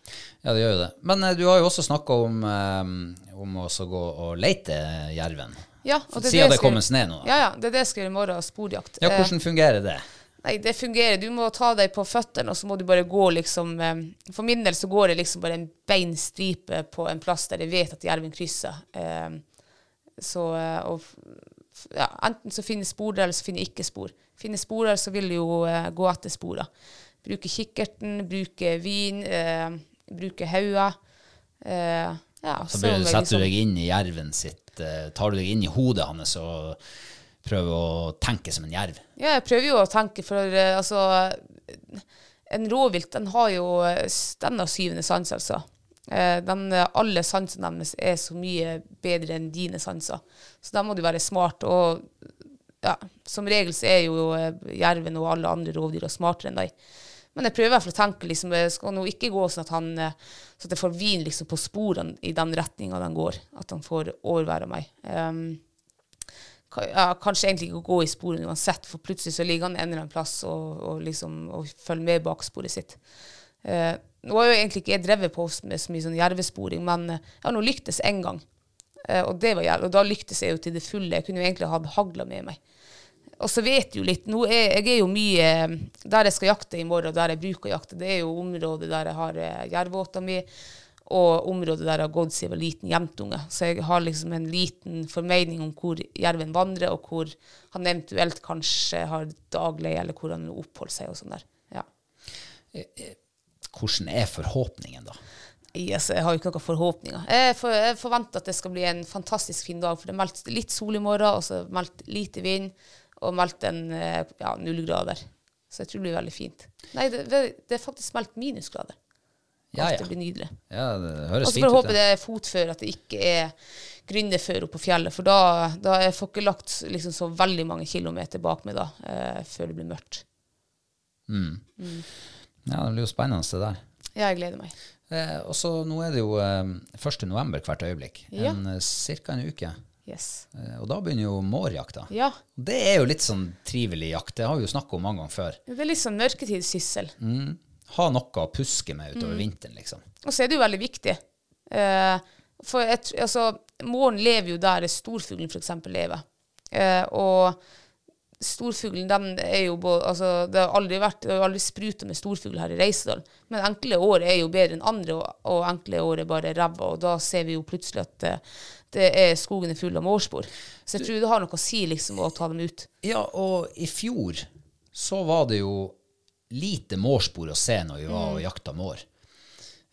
Speaker 1: Ja, det gjør jo det. Men eh, du har jo også snakka om, eh, om å så gå og leite jerven.
Speaker 2: Ja, er
Speaker 1: Siden
Speaker 2: jeg
Speaker 1: det
Speaker 2: skal
Speaker 1: kommer
Speaker 2: gjøre-
Speaker 1: snø nå, da.
Speaker 2: Ja, ja, det er det jeg skal gjøre i morgen. Sporjakt.
Speaker 1: Ja,
Speaker 2: Eh,
Speaker 1: hvordan fungerer det?
Speaker 2: Nei, det fungerer. Du må ta deg på føttene, og så må du bare gå liksom eh, For min del så går det liksom bare en beinstripe på en plass der jeg vet at jerven krysser. Eh, Så, eh, og, f- f- ja, enten så finner spor der, eller så finner ikke spor. Finner spor der, så vil du jo eh, gå etter sporene. Bruke kikkerten, bruke vin, eh, bruke hauger. Eh, ja,
Speaker 1: Så
Speaker 2: er
Speaker 1: blir,
Speaker 2: det
Speaker 1: setter
Speaker 2: liksom-
Speaker 1: du deg inn i jerven sitt, eh, tar du deg inn i hodet hans og prøver å tenke som en jerv.
Speaker 2: Ja, jeg prøver jo å tenke, for eh, altså En rovvilt, den har jo eh, s- Den har syvende sans, altså. Eh, Den, eh, alle sansene deres er så mye bedre enn dine sanser. Så da må du være smart. Og ja, som regel så er jo eh, jerven og alle andre rovdyr smartere enn deg. Men jeg prøver i hvert fall å tenke liksom, jeg skal nå ikke gå sånn at han eh, så at jeg får vin liksom, på sporene i den retninga den går. At han får overvære meg. Ehm, ka- ja, kanskje egentlig ikke gå i sporene uansett, for plutselig så ligger han en eller annen plass og, og, liksom, og følger med bak sporet sitt. Eh, nå har jo egentlig ikke jeg drevet på med så mye sånn jervesporing, men eh, jeg har nå lyktes én gang. Eh, og det var jerv, og da lyktes jeg jo til det fulle. Jeg kunne jo egentlig hatt hagla med meg. Og så vet du jo litt nå er, Jeg er jo mye Der jeg skal jakte i morgen, og der jeg bruker å jakte, det er jo området der jeg har eh, jervåta mi, og området der jeg har gått siden jeg var liten jentunge. Så jeg har liksom en liten formening om hvor jerven vandrer, og hvor han eventuelt kanskje har daglig, eller hvor han oppholder seg og sånn der. Ja.
Speaker 1: Hvordan er forhåpningen, da?
Speaker 2: Yes, jeg har jo ikke noen forhåpninger. Jeg, for, jeg forventer at det skal bli en fantastisk fin dag, for det er meldt litt sol i morgen, og så er det meldt lite vind, og meldt en eh, ja, null grader. Så jeg tror det blir veldig fint. Nei, det, det det er faktisk meldt minusgrader.
Speaker 1: Ja, ja.
Speaker 2: Det blir nydelig.
Speaker 1: ja det
Speaker 2: Og
Speaker 1: høres
Speaker 2: så
Speaker 1: fint
Speaker 2: får jeg
Speaker 1: ut.
Speaker 2: håpe det er fotføre, at det ikke er gründerføre oppe på fjellet, for da, da jeg får jeg ikke lagt liksom, så veldig mange kilometer bak meg da, eh, før det blir mørkt.
Speaker 1: Mm.
Speaker 2: Mm.
Speaker 1: Ja, det blir jo spennende, det der.
Speaker 2: Ja, jeg gleder meg.
Speaker 1: Eh, og så nå er det jo eh, 1. november hvert øyeblikk.
Speaker 2: Ja.
Speaker 1: En, eh, cirka en uke.
Speaker 2: Yes.
Speaker 1: Eh, og da begynner jo mårjakta.
Speaker 2: Ja,
Speaker 1: Det er jo litt sånn trivelig jakt. Det har vi jo snakka om mange ganger før.
Speaker 2: det er litt sånn mørketidssyssel.
Speaker 1: Ha noe å puske med utover
Speaker 2: Mm.
Speaker 1: vinteren, liksom.
Speaker 2: Og så er det jo veldig viktig. Eh, for jeg, tr- altså, måren lever jo der storfuglen f.eks. lever. Eh, og storfuglen, den er jo bå- altså, Det har aldri vært, det har jo aldri spruta med storfugl her i Reisedal. Men enkle år er jo bedre enn andre, og, og enkle år er bare ræva. Og da ser vi jo plutselig at eh, det er skogen er full av mårspor. Så jeg tror det har noe å si liksom å ta dem ut.
Speaker 1: Ja, og i fjor så var det jo lite mårspor å se når vi var
Speaker 2: Mm.
Speaker 1: og jakta mår.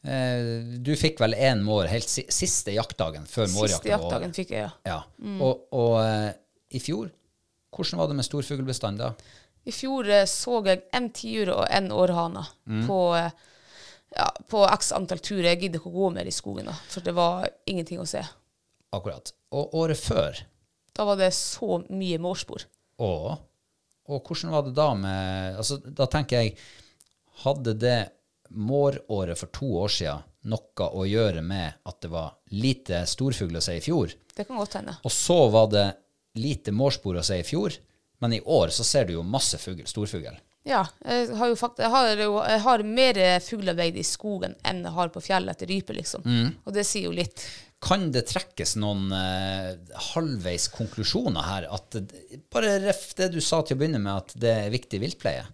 Speaker 1: Eh, du fikk vel én mår helt si siste jaktdagen før
Speaker 2: Siste
Speaker 1: mårjakta var over.
Speaker 2: jaktdagen fikk jeg, ja.
Speaker 1: Ja. Og, og eh, i fjor, hvordan var det med storfuglbestanden da?
Speaker 2: I fjor eh, så jeg en tiur og en århane
Speaker 1: Mm.
Speaker 2: på, eh, ja, på x antall turer. Jeg gidder ikke å gå mer i skogen, da, for det var ingenting å se.
Speaker 1: Akkurat. Og året før,
Speaker 2: Da var det så mye mårspor.
Speaker 1: og, og hvordan var det da med altså, Da tenker jeg, hadde det måråret for to år siden noe å gjøre med at det var lite storfugl å se i fjor?
Speaker 2: Det kan godt hende.
Speaker 1: Og så var det lite mårspor å se i fjor, men i år så ser du jo masse fugl, storfugl.
Speaker 2: Ja, jeg har jo, fakt jeg har jo jeg har mer eh, fuglearbeid i skogen enn jeg har på fjellet etter rype, liksom.
Speaker 1: Mm.
Speaker 2: Og det sier jo litt.
Speaker 1: Kan det trekkes noen eh, halvveis konklusjoner her? At, det- bare ref det du sa til å begynne med, at det er viktig viltpleie.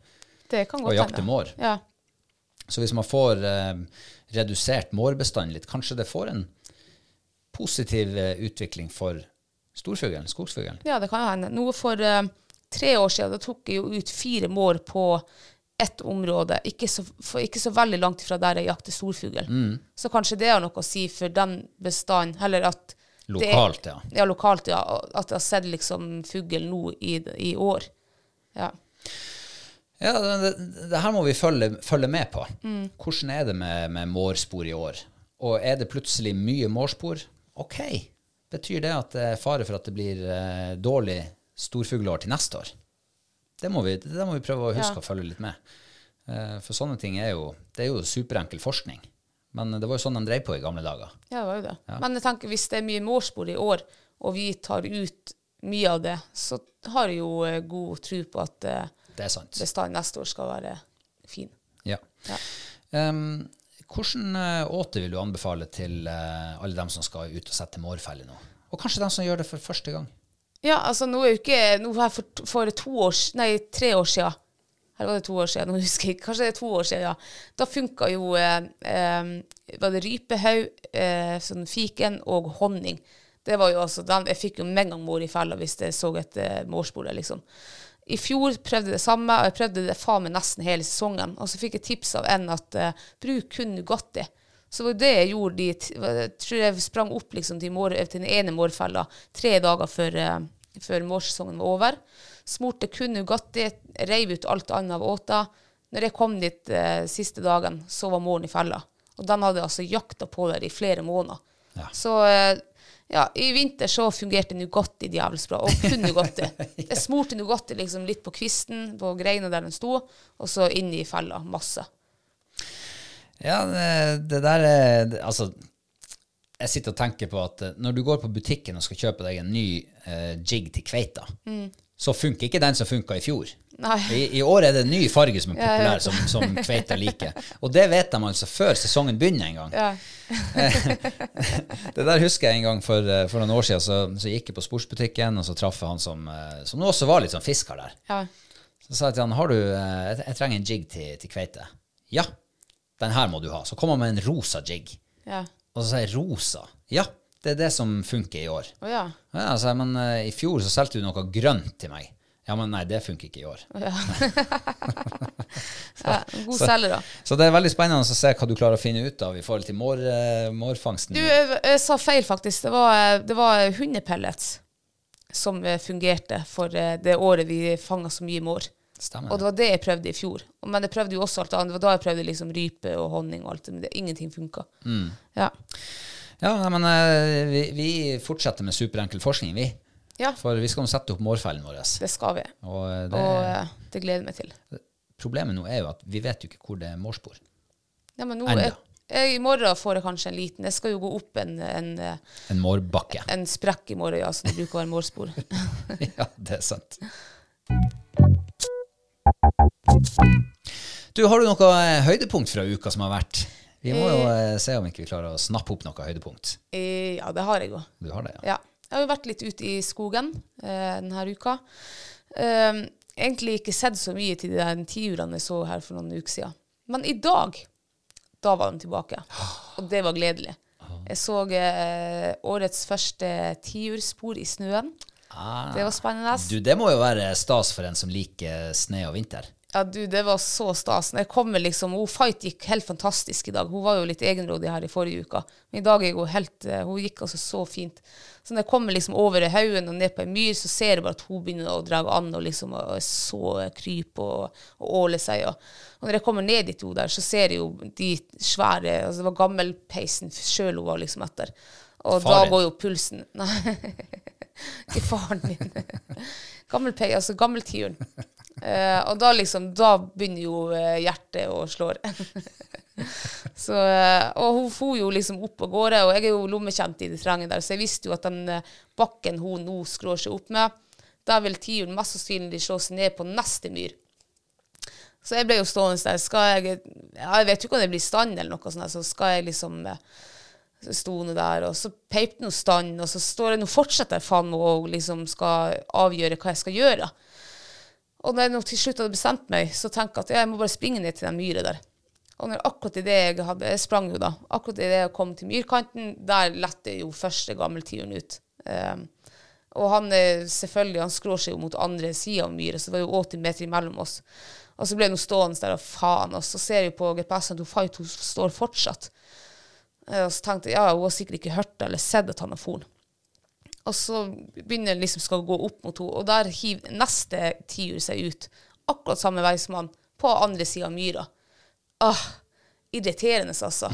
Speaker 2: Det kan
Speaker 1: Og
Speaker 2: godt
Speaker 1: jakte mår.
Speaker 2: Ja.
Speaker 1: Så hvis man får eh, redusert mårbestanden litt, kanskje det får en positiv eh, utvikling for storfuglen, skogsfuglen?
Speaker 2: Ja, det kan jo hende. Noe for eh, tre år siden, da tok jeg jo ut fire mål på ett område, ikke så, for, ikke så veldig langt ifra der jeg jakter storfugl.
Speaker 1: Mm.
Speaker 2: Så kanskje det har noe å si for den bestanden, eller at det-
Speaker 1: Lokalt, ja.
Speaker 2: Ja, lokalt, ja. og At jeg har sett liksom fugl nå i, i år. Ja.
Speaker 1: Ja, det, det- det her må vi følge, følge med på. Hvordan er det med, med mårspor i år? Og er det plutselig mye mårspor? OK. Betyr det at det er fare for at det blir eh, dårlig storfuglår til neste år? Det må vi, det må vi prøve å huske
Speaker 2: Ja.
Speaker 1: å følge litt med. Eh, for sånne ting er jo, det er jo superenkel forskning. Men det var jo sånn de drev på i gamle dager.
Speaker 2: Ja, det var jo det. Men jeg tenker hvis det er mye mårspor i år, og vi tar ut mye av det, så har jeg jo eh, god tro på at eh,
Speaker 1: Det er sant.
Speaker 2: bestanden neste år skal være fin.
Speaker 1: Ja. Em, hvordan eh, åte vil du anbefale til eh, alle dem som skal ut og sette mårfelle nå? Og kanskje dem som gjør det for første gang?
Speaker 2: Ja, altså nå er jo ikke Nå var jeg for, for to år s- Nei, tre år siden. Eller var det to år siden? Nå husker jeg ikke. Kanskje det er to år siden, ja. Da funka jo eh, eh, Var det rypehaug, eh, sånn fiken og honning. Det var jo altså, den, jeg fikk jo med en gang mor i fella hvis jeg så et eh, målspole, liksom. I fjor prøvde jeg det samme, og jeg prøvde det faen meg nesten hele sesongen. Og så fikk jeg tips av en at eh, bruk kun Nugatti. Så det var det jeg gjorde de t- Jeg tror jeg sprang opp liksom, til, mår, til den ene mårfella tre dager før, eh, før mårsesongen var over. Smurte kun Nugatti, reiv ut alt annet av åta. Når jeg kom dit eh, siste dagen, så var måren i fella. Og den hadde jeg altså jakta på der i flere måneder. Så eh, ja, i vinter så fungerte Nugatti djevelsk bra, og kun Nugatti. Jeg smurte Nugatti liksom litt på kvisten, på greina der den sto, og så inn i fella, masse.
Speaker 1: Ja, det, det der er det- Altså, jeg sitter og tenker på at eh, når du går på butikken og skal kjøpe deg en ny eh, jig til kveita, så funker ikke den som funka i fjor.
Speaker 2: Nei.
Speaker 1: I, I år er det en ny farge som er
Speaker 2: jeg
Speaker 1: populær,
Speaker 2: vet
Speaker 1: som, som kveita liker. Og det vet de altså før sesongen begynner en gang.
Speaker 2: Ja.
Speaker 1: Det der husker jeg en gang for, eh, for noen år siden. Så, så gikk jeg på sportsbutikken, og så traff jeg han som, eh, som også var litt sånn fisker der.
Speaker 2: ja.
Speaker 1: Så sa jeg til han, har du, eh, jeg, jeg trenger en jig til, til kveite. Ja, den her må du ha. Så kom han med en rosa jig.
Speaker 2: ja.
Speaker 1: Og så sa jeg rosa. Ja, det er det som funker i år.
Speaker 2: Å ja.
Speaker 1: Ja, så sa jeg, men eh, i fjor så solgte du noe grønt til meg. Ja, men nei, det funker ikke i år.
Speaker 2: Å ja. ja. God selger, da.
Speaker 1: Så det er veldig spennende å se hva du klarer å finne ut av i forhold til mår, eh, mårfangsten.
Speaker 2: Du, jeg, jeg sa feil, faktisk. Det var, eh, det var hundepellets som eh, fungerte for eh, det året vi fanga så mye mår.
Speaker 1: Stemmer.
Speaker 2: Og det var det jeg prøvde i fjor. Og- Men jeg prøvde jo også alt annet. Det var da jeg prøvde liksom rype og honning og alt. Men det, ingenting funka. Ja.
Speaker 1: Ja, nei, men eh, vi, vi fortsetter med superenkel forskning, vi.
Speaker 2: ja,
Speaker 1: For vi skal jo sette opp mårfellen vår.
Speaker 2: det skal vi.
Speaker 1: Og eh, det,
Speaker 2: Og eh, det gleder jeg meg til.
Speaker 1: problemet nå er jo at vi vet jo ikke hvor det er mårspor.
Speaker 2: Ja, men nå,
Speaker 1: Enda.
Speaker 2: jeg, jeg, I morgen får jeg kanskje en liten. Jeg skal jo gå opp en, en, eh,
Speaker 1: En mårbakke.
Speaker 2: en sprekk i morgen, ja, som det bruker å være målspor.
Speaker 1: ja, det er sant. Du, har du noe eh, høydepunkt fra uka som har vært? Vi må jo eh, se om ikke vi klarer å snappe opp noe høydepunkt.
Speaker 2: Eh, ja, det har jeg jo.
Speaker 1: Du har det, ja?
Speaker 2: Ja. Jeg har jo vært litt ute i skogen eh, denne uka. Eh, egentlig ikke sett så mye til de der tiurene jeg så her for noen uker siden. Men i dag, da var de tilbake. Og det var gledelig.
Speaker 1: Ah.
Speaker 2: Jeg så eh, årets første tiurspor i snøen.
Speaker 1: Ah.
Speaker 2: Det var spennende.
Speaker 1: Du, det må jo være stas for en som liker sne og vinter.
Speaker 2: Ja, du, det var så stas. Når jeg kommer liksom, hun Fight gikk helt fantastisk i dag. Hun var jo litt egenrådig her i forrige uka. Men i dag er hun helt eh, Hun gikk altså så fint. Så når jeg kommer liksom over haugen og ned på ei myr, så ser jeg bare at hun begynner å dra an og liksom og er så krype og, og åle seg. Og, og når jeg kommer ned dit hun der, så ser jeg jo de svære altså Det var gammelpeisen sjøl hun var liksom etter. Og
Speaker 1: Faren
Speaker 2: da
Speaker 1: din.
Speaker 2: går jo pulsen Nei, ikke faren min. Gammelpei, altså gammeltiuren. Eh, og da liksom, da begynner jo eh, hjertet å slå. så, eh, og hun for jo liksom opp av gårde, og jeg er jo lommekjent i det terrenget der, så jeg visste jo at den eh, bakken hun nå skrår seg opp med, der vil tiuren mest sannsynlig slå seg ned på neste myr. Så jeg ble jo stående der. Skal jeg ja, Jeg vet jo ikke om det blir stand eller noe sånt, her, så skal jeg liksom eh, så sto hun der, og så peip hun stand, og så står jeg nå fortsetter jeg faen meg og liksom skal avgjøre hva jeg skal gjøre. Og når jeg nå til slutt hadde bestemt meg, så tenkte jeg at ja, jeg må bare springe ned til den myra der. Og når akkurat i det jeg hadde, jeg sprang jo da, akkurat i det jeg kom til myrkanten, der lette jo første gammeltiuren ut. Ehm, og han eh, selvfølgelig, han skrår seg jo mot andre sida av myra, så det var jo 80 meter imellom oss. Og så ble hun stående der, og faen, og så ser jeg på GPS-en at hun fight, hun står fortsatt. Eh, Og så tenkte jeg ja, hun har sikkert ikke hørt eller sett at han har foren. Og så begynner jeg liksom skal gå opp mot henne, og der hiver neste tiur seg ut. Akkurat samme vei som han, på andre sida av myra. Ah, irriterende, altså.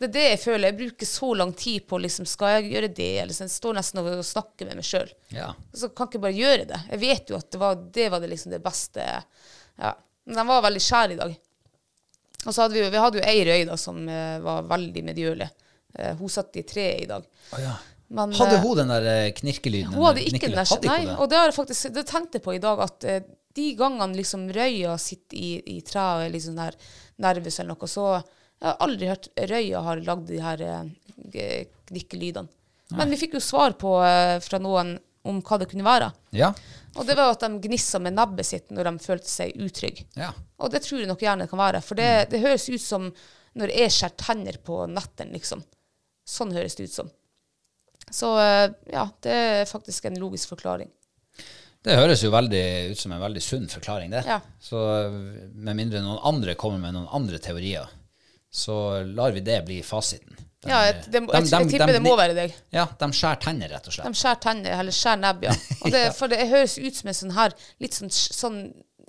Speaker 2: Det er det jeg føler. Jeg bruker så lang tid på liksom, skal jeg gjøre det, eller så jeg står nesten og og snakker med meg sjøl.
Speaker 1: Ja.
Speaker 2: Så kan ikke bare gjøre det. Jeg vet jo at det var det, var det, liksom det beste. Ja. Men den var veldig skjær i dag. Og så hadde vi, jo- vi hadde jo ei røy da, som eh, var veldig medgjørlig. Eh, hun satt i treet i dag. Men,
Speaker 1: Hadde
Speaker 2: eh,
Speaker 1: hun den der eh, knirkelyden?
Speaker 2: hun hadde
Speaker 1: eller
Speaker 2: ikke
Speaker 1: knikkelyden?
Speaker 2: den der
Speaker 1: Hadde ikke hun
Speaker 2: Nei,
Speaker 1: det?
Speaker 2: og det har jeg faktisk det tenkte jeg på i dag, at eh, de gangene liksom røya sitter i, i treet og er liksom der nervøs eller noe, så jeg har aldri hørt røya har lagd de her eh, g- knikkelydene. Men vi fikk jo svar på eh, fra noen om hva det kunne være.
Speaker 1: Ja.
Speaker 2: Og det var jo at de gnissa med nebbet sitt når de følte seg utrygge.
Speaker 1: Ja.
Speaker 2: Og det tror jeg nok gjerne det kan være. For det,
Speaker 1: Mm.
Speaker 2: det høres ut som når jeg skjærer tenner på nettene, liksom. Sånn høres det ut som. Så eh, ja, det er faktisk en logisk forklaring.
Speaker 1: Det høres jo veldig ut som en veldig sunn forklaring, det.
Speaker 2: Ja.
Speaker 1: Så med mindre noen andre kommer med noen andre teorier, så lar vi det bli fasiten. De-
Speaker 2: Ja, jeg, det, må- jeg,
Speaker 1: de-
Speaker 2: jeg tipper
Speaker 1: de-
Speaker 2: det må være deg.
Speaker 1: Ja, de skjærer tenner, rett og
Speaker 2: De
Speaker 1: slett.
Speaker 2: skjærer tenner, eller skjærer nebb, ja. Og det, for det høres ut som en sånn her, litt sånn, sånn,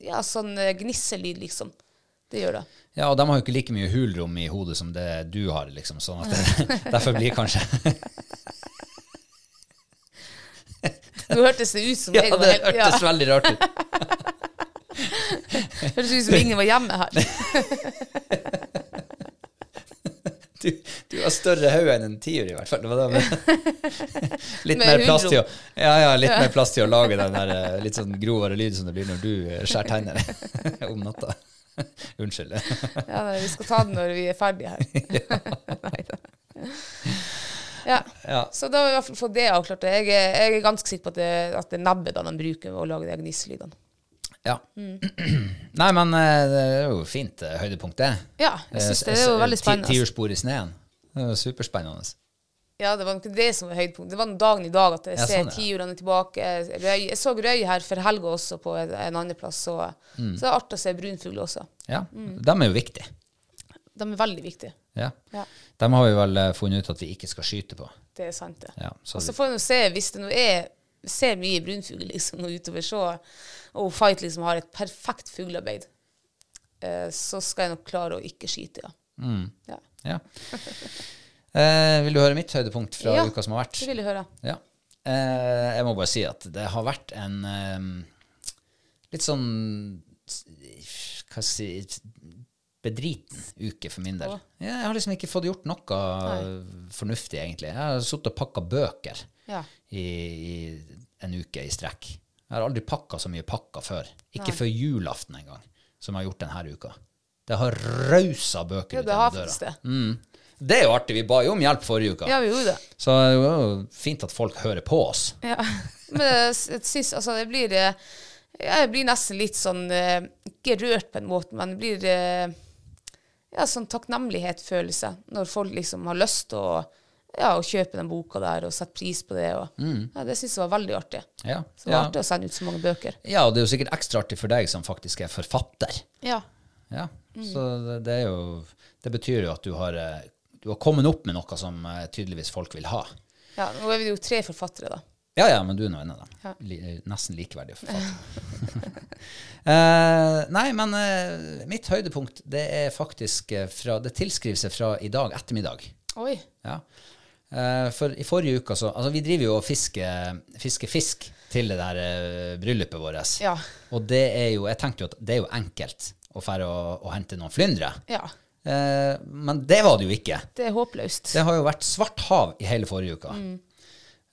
Speaker 2: ja, sånn eh, gnisselyd, liksom. Det gjør det.
Speaker 1: Ja, og de har jo ikke like mye hulrom i hodet som det du har, liksom, sånn at det, derfor blir kanskje
Speaker 2: Nå hørtes det ut som
Speaker 1: Ja,
Speaker 2: jeg var
Speaker 1: det
Speaker 2: helt, ja,
Speaker 1: hørtes veldig rart ut.
Speaker 2: hørtes ut som ingen var hjemme her.
Speaker 1: Du, du har større hode enn en tiur, i hvert fall. Det var det med- litt
Speaker 2: Med
Speaker 1: mer plass til å
Speaker 2: hulrom.
Speaker 1: Ja, ja, litt mer plass til å lage den der eh, litt sånn grovere lyd som det blir når du eh, skjærer tenner om natta. Unnskyld.
Speaker 2: Ja, nei, vi skal ta det når vi er ferdige her. Neida. Ja.
Speaker 1: Ja.
Speaker 2: Så da har vi i hvert fall fått det avklart. og Jeg er, jeg er ganske sikker på at det, at det er nebbet da de bruker ved å lage de gnisselydene.
Speaker 1: Ja.
Speaker 2: Mm.
Speaker 1: Nei, men eh, det er jo fint eh, høydepunkt, det.
Speaker 2: Ja, jeg synes det er
Speaker 1: Eh,
Speaker 2: jo
Speaker 1: s-
Speaker 2: veldig
Speaker 1: ti-
Speaker 2: spennende.
Speaker 1: Tiurspor i sneen. Det er jo superspennende.
Speaker 2: Ja, det var nok det som var høydepunktet. Det var den dagen i dag at jeg
Speaker 1: Ja,
Speaker 2: ser
Speaker 1: sånn, ja.
Speaker 2: tiurene tilbake. Røy, jeg så røy her for helga også på en, en annen plass, så,
Speaker 1: Mm.
Speaker 2: så det er artig å se brunfugl også.
Speaker 1: Ja.
Speaker 2: Mm.
Speaker 1: De er jo viktige.
Speaker 2: De er veldig viktige.
Speaker 1: Ja.
Speaker 2: Ja.
Speaker 1: De har vi vel eh, funnet ut at vi ikke skal skyte på.
Speaker 2: Det er sant, det.
Speaker 1: Ja, så
Speaker 2: Og så
Speaker 1: vi-
Speaker 2: får jeg nå se, hvis det nå er ser mye brunfugl liksom nå utover, så og Fight liksom har et perfekt fuglearbeid, eh, så skal jeg nok klare å ikke skyte, ja. ja.
Speaker 1: Ja. Eh, vil du høre mitt høydepunkt fra
Speaker 2: Ja,
Speaker 1: uka som har vært?
Speaker 2: Det vil jeg høre.
Speaker 1: Ja. Eh, jeg må bare si at det har vært en eh, litt sånn Hva skal jeg si Bedriten uke for min del. Ja, Jeg har liksom ikke fått gjort noe fornuftig, egentlig. Jeg har sittet og pakka bøker
Speaker 2: Ja.
Speaker 1: i, i en uke i strekk. Jeg har aldri pakka så mye pakker før. Ikke før julaften engang, som jeg har gjort denne uka. Det har rausa bøker
Speaker 2: Ja,
Speaker 1: ut
Speaker 2: det har
Speaker 1: gjennom døra.
Speaker 2: faktisk det.
Speaker 1: Det er jo artig. Vi ba jo om hjelp forrige uke.
Speaker 2: Ja, vi gjorde det.
Speaker 1: Så det var jo fint at folk hører på oss.
Speaker 2: Ja. Men jeg s- syns altså jeg blir eh, Jeg blir nesten litt sånn eh, Ikke rørt på en måte, men det blir eh, ja, sånn takknemlighetsfølelse når folk liksom har lyst til å, ja, å kjøpe den boka der og sette pris på det. Og, ja, det syns jeg var veldig artig.
Speaker 1: Ja,
Speaker 2: Så det var
Speaker 1: ja.
Speaker 2: artig å sende ut så mange bøker.
Speaker 1: Ja, og det er jo sikkert ekstra artig for deg som faktisk er forfatter.
Speaker 2: Ja.
Speaker 1: Ja,
Speaker 2: Mm.
Speaker 1: Så det, det er jo Det betyr jo at du har, eh, du har kommet opp med noe som eh, tydeligvis folk vil ha.
Speaker 2: Nå er vi jo tre forfattere, da.
Speaker 1: Ja, ja, men du er nå en av dem.
Speaker 2: Ja.
Speaker 1: Li, eh, nesten likeverdige forfattere. Eh, nei, men eh, mitt høydepunkt det er faktisk eh, fra Det tilskriver seg fra i dag ettermiddag.
Speaker 2: Oi.
Speaker 1: Ja. Eh, For i forrige uke så Altså, vi driver jo og fisker, fisker fisk til det der eh, bryllupet vårt.
Speaker 2: Ja.
Speaker 1: Og det er jo Jeg tenkte jo at det er jo enkelt å fære og, og hente noen flyndre.
Speaker 2: Ja.
Speaker 1: Eh, men det var det jo ikke.
Speaker 2: Det er håpløst.
Speaker 1: Det har jo vært svart hav i hele forrige uka.
Speaker 2: Mm.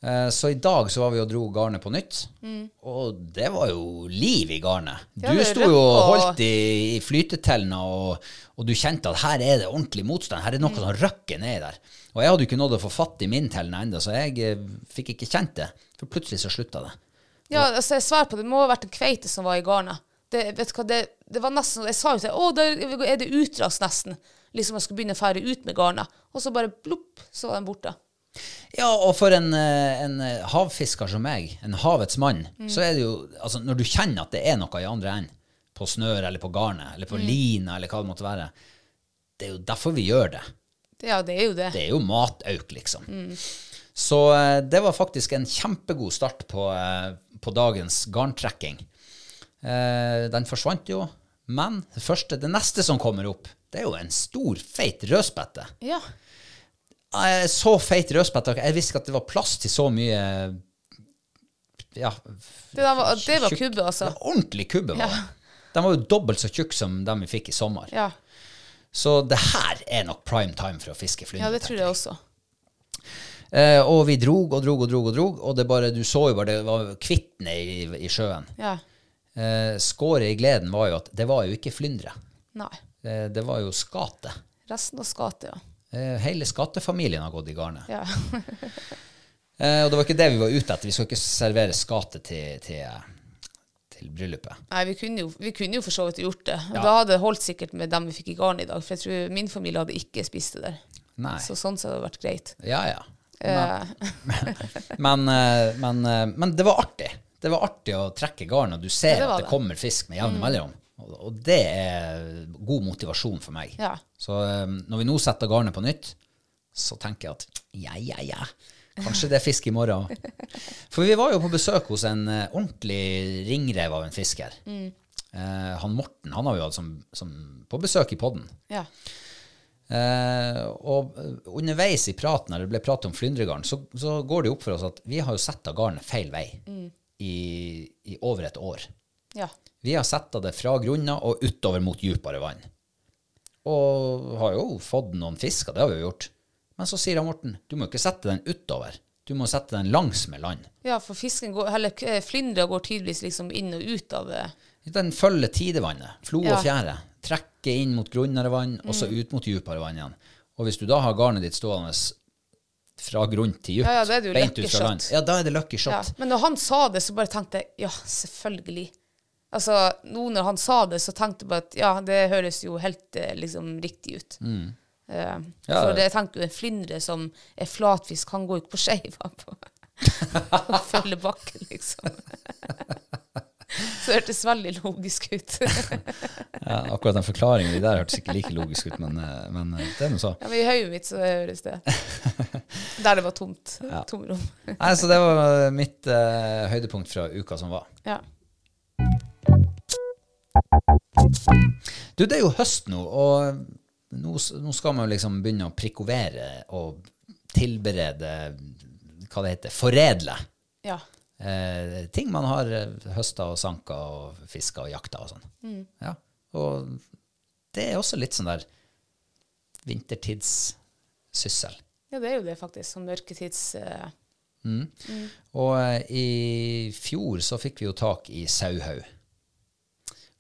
Speaker 1: Eh, Så i dag så var vi og dro garnet på nytt, og det var jo liv i garnet.
Speaker 2: Mm. Ja,
Speaker 1: du
Speaker 2: det
Speaker 1: sto
Speaker 2: røp
Speaker 1: jo og
Speaker 2: og-
Speaker 1: holdt i, i flytetellene, og, og du kjente at her er det ordentlig motstand. Her er
Speaker 2: Mm.
Speaker 1: noe som røkker ned der. Og jeg hadde jo ikke nådd å få fatt i min telne ennå, så jeg eh, fikk ikke kjent det. For plutselig så slutta det.
Speaker 2: Ja, altså jeg svarer på det. Det må ha vært en kveite som var i garnet. Det, vet du hva, det, det var nesten, Jeg sa jo til deg, å, da er det utras nesten. Liksom jeg skulle begynne å fære ut med garnet. Og så bare plopp, så var den borte.
Speaker 1: Ja, og for en, eh, en eh, havfisker som meg, en havets mann, så er det jo altså Når du kjenner at det er noe i andre enden, på snøret eller på garnet eller på lina eller hva det måtte være, det er jo derfor vi gjør det.
Speaker 2: Det, ja, det er jo det.
Speaker 1: Det er jo matauk, liksom. Så eh, det var faktisk en kjempegod start på, eh, på dagens garntrekking. Eh, den forsvant jo, men det, første, det neste som kommer opp, det er jo en stor, feit rødspette.
Speaker 2: Ja.
Speaker 1: Eh, så feit rødspett. Jeg visste ikke at det var plass til så mye Ja.
Speaker 2: Det, der var, det var
Speaker 1: tjukk-
Speaker 2: kubbe, altså.
Speaker 1: Det var Ordentlig kubbe. Var.
Speaker 2: Ja.
Speaker 1: det. Den var jo dobbelt så tjukk som den vi fikk i sommer.
Speaker 2: Ja,
Speaker 1: Så det her er nok prime time for å fiske flyndre.
Speaker 2: ja det tror jeg også.
Speaker 1: Eh, og vi drog og drog og drog, og drog, og det bare, du så jo bare det var kvittene i, i sjøen.
Speaker 2: Ja.
Speaker 1: Eh, Skåret i gleden var jo at det var jo ikke flyndre.
Speaker 2: Nei.
Speaker 1: Eh, det var jo skate.
Speaker 2: Resten av skatet, ja.
Speaker 1: Eh, hele skatefamilien har gått i garnet.
Speaker 2: ja.
Speaker 1: Eh, og det var ikke det vi var ute etter. Vi skal ikke servere skate til, til, til bryllupet.
Speaker 2: Nei, vi kunne, jo, vi kunne jo for så vidt gjort det. Da hadde det holdt sikkert med dem vi fikk i garnet i dag. For jeg tror min familie hadde ikke spist det der.
Speaker 1: Nei.
Speaker 2: Så sånn så hadde det vært greit.
Speaker 1: Ja, ja.
Speaker 2: Eh,
Speaker 1: Men, eh, men, eh, men det var artig. Det var artig å trekke garn, og du ser
Speaker 2: det var
Speaker 1: at det
Speaker 2: det. Mm.
Speaker 1: kommer fisk med jevne mellomrom. Og, og det er god motivasjon for meg.
Speaker 2: Ja.
Speaker 1: Så eh, når vi nå setter garnet på nytt, så tenker jeg at ja, ja, ja. Kanskje det er fisk i morgen. For vi var jo på besøk hos en eh, ordentlig ringrev av en fisker.
Speaker 2: Mm.
Speaker 1: Eh, han Morten han har vi hatt som, som på besøk i podden.
Speaker 2: ja.
Speaker 1: Eh, og eh, underveis i praten, når det ble prat om flyndregarn, så, så går det jo opp for oss at vi har jo sett av garnet feil vei i, i over et år.
Speaker 2: ja.
Speaker 1: Vi har sett av det fra grunna og utover mot dypere vann. Og har jo fått noen fisker, det har vi jo gjort. Men så sier han Morten, du må jo ikke sette den utover. Du må sette den langs med land.
Speaker 2: Ja, for fisken går, eller eh, flyndra går tydeligvis liksom inn og ut av det.
Speaker 1: Den følger tidevannet, flo
Speaker 2: Ja. Mm.
Speaker 1: og fjære. Trekker inn mot grunnere vann, og så ut mot dypere vann igjen. Og hvis du da har garnet ditt stående fra grunn til dypt,
Speaker 2: Ja, ja, da er det jo
Speaker 1: beint ut
Speaker 2: lucky
Speaker 1: fra
Speaker 2: shot.
Speaker 1: land, ja, da er det lucky
Speaker 2: Ja.
Speaker 1: shot.
Speaker 2: Men når han sa det, så bare tenkte jeg ja, selvfølgelig. Altså, nå når han sa det, så tenkte jeg bare at ja, det høres jo helt eh, liksom riktig ut. Eh,
Speaker 1: Mm. Ja,
Speaker 2: for
Speaker 1: det-
Speaker 2: jeg tenker jo en flyndre som er flatfisk, han går jo ikke på skeiva på Han følger bakken, liksom. så det hørtes veldig logisk ut.
Speaker 1: Ja, akkurat den forklaringen de der hørtes ikke like logisk ut, men, eh, men eh, det er nå så.
Speaker 2: ja, men i hodet mitt så høres det Der det var tomt. Tomrom.
Speaker 1: Nei, så det var mitt eh, høydepunkt fra uka som var.
Speaker 2: ja.
Speaker 1: Du, det er jo høst nå, og eh, nå, s- nå skal man jo liksom begynne å prikovere og tilberede, hva det heter, foredle.
Speaker 2: ja.
Speaker 1: eh, ting man har eh, høsta og sanka og fiska og jakta og sånn. Ja. Og det er også litt sånn der vintertidssyssel.
Speaker 2: Ja, det er jo det, faktisk. Sånn mørketids... eh,
Speaker 1: Og eh, i fjor så fikk vi jo tak i sauhaug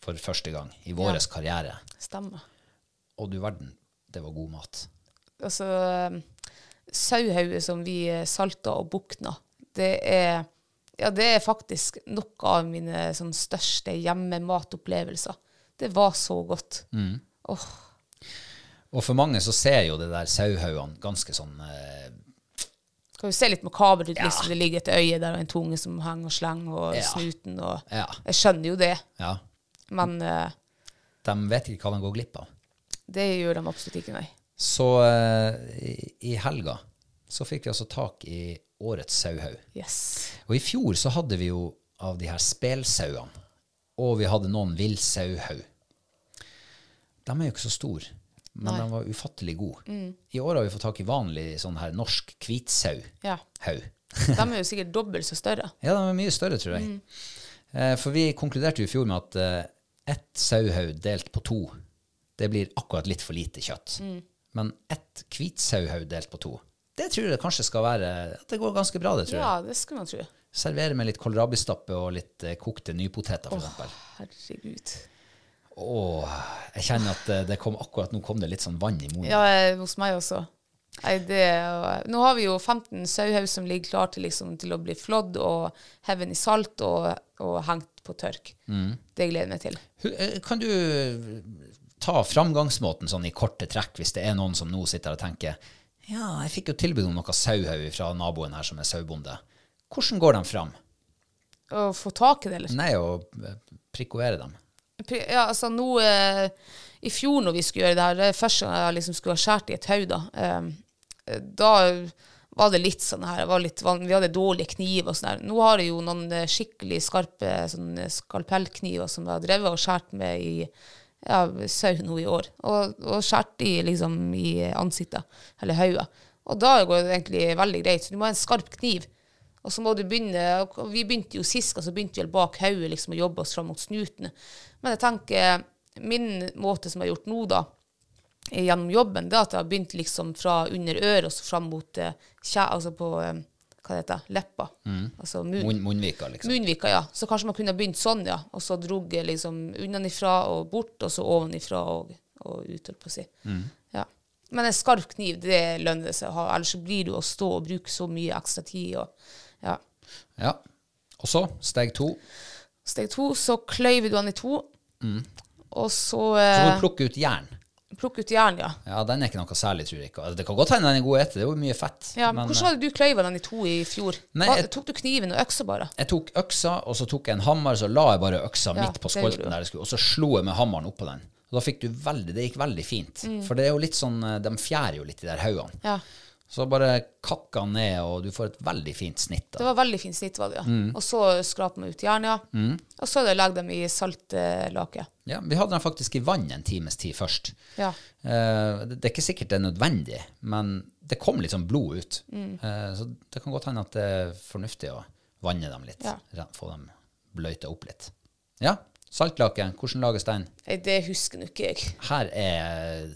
Speaker 1: for første gang i vår karriere.
Speaker 2: Stemmer.
Speaker 1: Og du verden, det var god mat.
Speaker 2: Altså, eh, sauhauget som vi eh, salta og bukna, det er ja, det er faktisk noe av mine sånn, største hjemmematopplevelser. Det var så godt.
Speaker 1: Mm.
Speaker 2: Åh,
Speaker 1: Og for mange så ser jo det der sauhaugene ganske sånn eh,
Speaker 2: kan jo se litt makabert ut. Liksom. Det ligger et øye der og en tunge som henger og slenger, og
Speaker 1: Ja.
Speaker 2: snuten og
Speaker 1: Ja.
Speaker 2: Jeg skjønner jo det,
Speaker 1: Ja.
Speaker 2: men eh,
Speaker 1: De vet ikke hva de går glipp av.
Speaker 2: det gjør de absolutt ikke, nei.
Speaker 1: Så eh, i- i helga så fikk vi altså tak i årets sauhaug.
Speaker 2: Yes.
Speaker 1: Og i fjor så hadde vi jo av de her spelsauene, og vi hadde noen villsauhaug. De er jo ikke så store, men de var ufattelig gode. I år har vi fått tak i vanlig sånn her norsk hvitsauhaug.
Speaker 2: Ja. De er jo sikkert dobbelt så større.
Speaker 1: Ja, de er mye større, tror jeg. Eh, for vi konkluderte jo i fjor med at eh, ett sauhaug delt på to, det blir akkurat litt for lite kjøtt.
Speaker 2: Mm.
Speaker 1: Men ett hvit sauhaug delt på to, det tror jeg det kanskje skal være Det går ganske bra, det, tror jeg.
Speaker 2: Ja, det skulle man tro.
Speaker 1: Servere med litt kålrabistappe og litt eh, kokte nypoteter, for eksempel.
Speaker 2: Herregud.
Speaker 1: Åh, jeg kjenner at eh, det kom akkurat nå kom det litt sånn vann i munnen.
Speaker 2: Ja, eh, hos meg også. Nei, det, er jo- nå har vi jo 15 sauhaus som ligger klar til, liksom, til å bli flådd og hevet i salt og, og hengt på tørk. Det gleder jeg meg til.
Speaker 1: Hu- eh, Kan du ta framgangsmåten sånn i korte trekk, hvis det er noen som nå sitter og tenker ja, jeg fikk jo tilbud om noe sauhaug fra naboen her som er sauebonde. Hvordan går de fram?
Speaker 2: Å få tak i det, eller?
Speaker 1: Nei, å eh, prikovere dem.
Speaker 2: Pri- Ja, altså nå eh, I fjor når vi skulle gjøre det her, det er første gang jeg liksom skulle ha skåret i et hau, da, eh, da var det litt sånn her det var litt van Vi hadde dårlige kniver og sånn her. Nå har jeg jo noen eh, skikkelig skarpe sånn eh, skalpellkniver som jeg har drevet og skåret med i ja, sau nå i år. Og, og skåret i liksom i ansiktet, eller hodet. Og da går det egentlig veldig greit. Så du må ha en skarp kniv. Og så må du begynne og Vi begynte jo sist, og så begynte vi vel bak hodet liksom, å jobbe oss fram mot snuten. Men jeg tenker min måte som jeg har gjort nå, da, eh, gjennom jobben, det er at jeg har begynt liksom fra under øret og så fram mot eh, kjæ... Altså på eh, hva det heter leppa. Altså munn.
Speaker 1: Munn, munnvika, liksom.
Speaker 2: Munnvika, ja. Så kanskje man kunne ha begynt sånn, ja. Og så drog jeg liksom unnanifra og bort, og så ovenifra og, og ut, holdt på å si.
Speaker 1: Mm.
Speaker 2: Ja. Men en skarp kniv, det lønner det seg å ha. Ellers så blir det jo å stå og bruke så mye ekstra tid. Og, ja.
Speaker 1: Ja. Og så, steg to.
Speaker 2: Steg to, så kløyver du den i to. Og så
Speaker 1: Mm. Så må
Speaker 2: eh,
Speaker 1: du plukke ut jern.
Speaker 2: Plukke ut jern, ja.
Speaker 1: Ja, den er ikke noe særlig, tror jeg ikke. Altså, Det kan godt hende den er god å ete, det er jo mye fett.
Speaker 2: ja
Speaker 1: men, eh,
Speaker 2: hvordan var det du kløyva den i to i fjor?
Speaker 1: Nei,
Speaker 2: Hva,
Speaker 1: jeg-
Speaker 2: tok du kniven og øksa bare?
Speaker 1: jeg tok øksa, og så tok jeg en hammer, så la jeg bare øksa
Speaker 2: Ja,
Speaker 1: midt på
Speaker 2: det gjorde du.
Speaker 1: skolten der det skulle, og så slo jeg med hammeren oppå den. Og da fikk du veldig, Det gikk veldig fint.
Speaker 2: Mm.
Speaker 1: For det er jo litt sånn, eh, de fjærer jo litt i de der haugene.
Speaker 2: Ja.
Speaker 1: Så bare kakka den ned, og du får et veldig fint snitt.
Speaker 2: Det
Speaker 1: da.
Speaker 2: var veldig fint snitt, var det, ja.
Speaker 1: Mm.
Speaker 2: Og så skrape med ut jern, ja. Og så legge dem i saltlake.
Speaker 1: Ja, vi hadde den faktisk i vann en times tid først.
Speaker 2: Ja.
Speaker 1: Eh, det det er ikke sikkert det er nødvendig, men det kom litt sånn blod ut.
Speaker 2: Mm.
Speaker 1: Eh, så det kan godt hende at det er fornuftig å vanne dem litt.
Speaker 2: Ja.
Speaker 1: Re- Få dem bløyta opp litt. Ja, saltlake. Hvordan lages den?
Speaker 2: Nei, det husker nå ikke jeg.
Speaker 1: Her er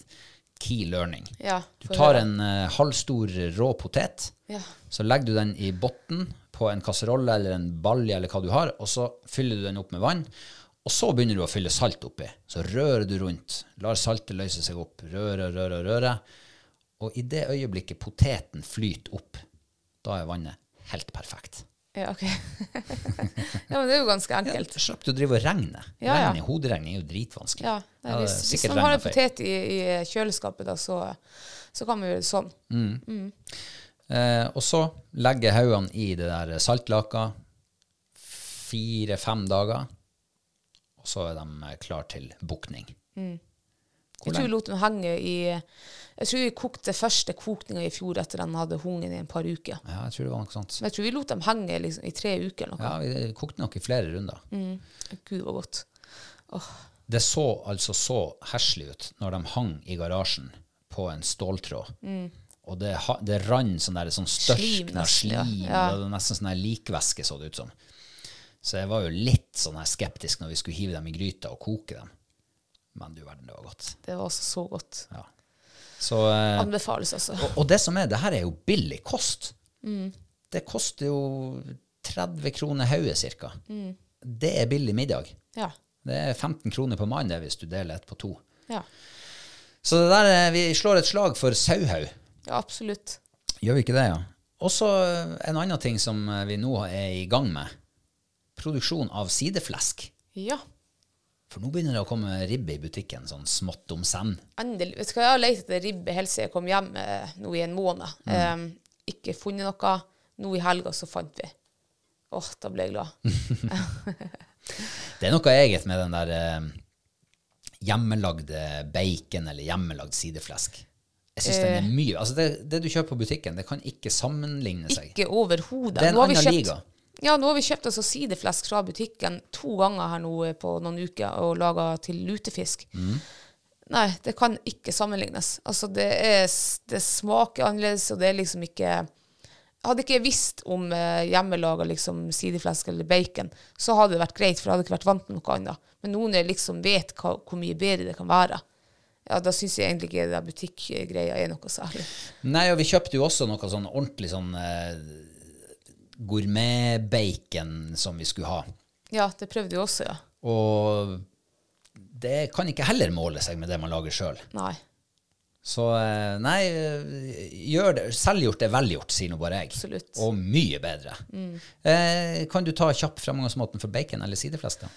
Speaker 1: key learning.
Speaker 2: Ja,
Speaker 1: du
Speaker 2: få
Speaker 1: tar
Speaker 2: høre.
Speaker 1: en eh, halvstor rå potet,
Speaker 2: Ja.
Speaker 1: så legger du den i botten på en kasserolle eller en balje eller hva du har, og så fyller du den opp med vann. Og så begynner du å fylle salt oppi. Så rører du rundt. Lar saltet løse seg opp. Røre, røre, røre. Og i det øyeblikket poteten flyter opp, da er vannet helt perfekt.
Speaker 2: Ja, ok. ja, men det er jo ganske enkelt.
Speaker 1: Slapp du å drive og regne.
Speaker 2: Ja, ja.
Speaker 1: Regne, Hoderegning er jo dritvanskelig.
Speaker 2: Ja, nei,
Speaker 1: det er
Speaker 2: hvis, hvis
Speaker 1: sikkert
Speaker 2: man har en
Speaker 1: regnet feil.
Speaker 2: potet i, i kjøleskapet, da, så, så kan man gjøre det sånn.
Speaker 1: Eh, og så legger jeg haugene i det der saltlaka fire-fem dager, og så er de eh, klar til bukning.
Speaker 2: Jeg tror jeg lot den henge i Jeg tror vi kokte første kokninga i fjor etter den hadde hungen i en par uker.
Speaker 1: Ja, jeg tror det var noe sånt.
Speaker 2: Men jeg tror vi lot dem henge liksom, i tre uker eller noe.
Speaker 1: Ja, vi kokte nok i flere runder.
Speaker 2: Mm. Gud, det var godt.
Speaker 1: Det så altså så heslig ut når de hang i garasjen på en ståltråd. Og det, ha- det rann sånn der sånn
Speaker 2: Mm. Slim
Speaker 1: størkna
Speaker 2: nesten, ja.
Speaker 1: slim,
Speaker 2: Ja.
Speaker 1: det var nesten sånn der likvæske så det ut som. Så jeg var jo litt sånn her skeptisk når vi skulle hive dem i gryta og koke dem. Men du verden, det var godt.
Speaker 2: Det var altså så godt.
Speaker 1: Ja. Så, eh,
Speaker 2: Anbefales, altså.
Speaker 1: og, og det som er, det her er jo billig kost. Det koster jo 30 kroner hauet cirka. Det er billig middag.
Speaker 2: Ja.
Speaker 1: Det er 15 kroner på mann det hvis du deler ett på to.
Speaker 2: Ja,
Speaker 1: Så det der, eh, vi slår et slag for sauhaug.
Speaker 2: ja absolutt.
Speaker 1: Gjør vi ikke det, ja? Og så eh, en annen ting som eh, vi nå er i gang med. Produksjon av sideflesk.
Speaker 2: Ja.
Speaker 1: For nå begynner det å komme ribbe i butikken, sånn smått om senn.
Speaker 2: Endelig. Vet du hva, jeg har lett etter ribbe helt siden jeg kom hjem eh, nå i en måned. Eh, ikke funnet noe. Nå i helga så fant vi. Åh, da ble jeg glad.
Speaker 1: Det er noe eget med den der eh, hjemmelagde bacon eller hjemmelagd sideflesk. Jeg synes den er mye Altså, det, det du kjøper på butikken, det kan ikke sammenligne seg.
Speaker 2: Ikke overhodet.
Speaker 1: Det er en
Speaker 2: Nå har vi
Speaker 1: annen
Speaker 2: kjøpt-
Speaker 1: liga.
Speaker 2: Ja, nå har vi kjøpt altså sideflesk fra butikken to ganger her nå eh, på noen uker og laga til lutefisk.
Speaker 1: Mm.
Speaker 2: Nei, det kan ikke sammenlignes. Altså, det, er, s- det smaker annerledes, og det er liksom ikke Hadde ikke jeg visst om eh, hjemmelaga liksom, sideflesk eller bacon, så hadde det vært greit, for jeg hadde ikke vært vant til noe annet. Men nå når jeg liksom vet hva, hvor mye bedre det kan være, ja, da syns jeg egentlig ikke det der butikkgreia er noe særlig.
Speaker 1: Nei, og vi kjøpte jo også noe sånn ordentlig sånn eh, gourmet-bacon som vi skulle ha.
Speaker 2: Ja, det prøvde jeg også, ja.
Speaker 1: Og det kan ikke heller måle seg med det man lager sjøl.
Speaker 2: Nei.
Speaker 1: Så eh, nei, eh, gjør det. Selvgjort er velgjort, sier nå bare jeg.
Speaker 2: Absolutt. Mm.
Speaker 1: Og mye bedre. Eh, kan du ta kjapp framgangsmåten for bacon eller sideflesk? da?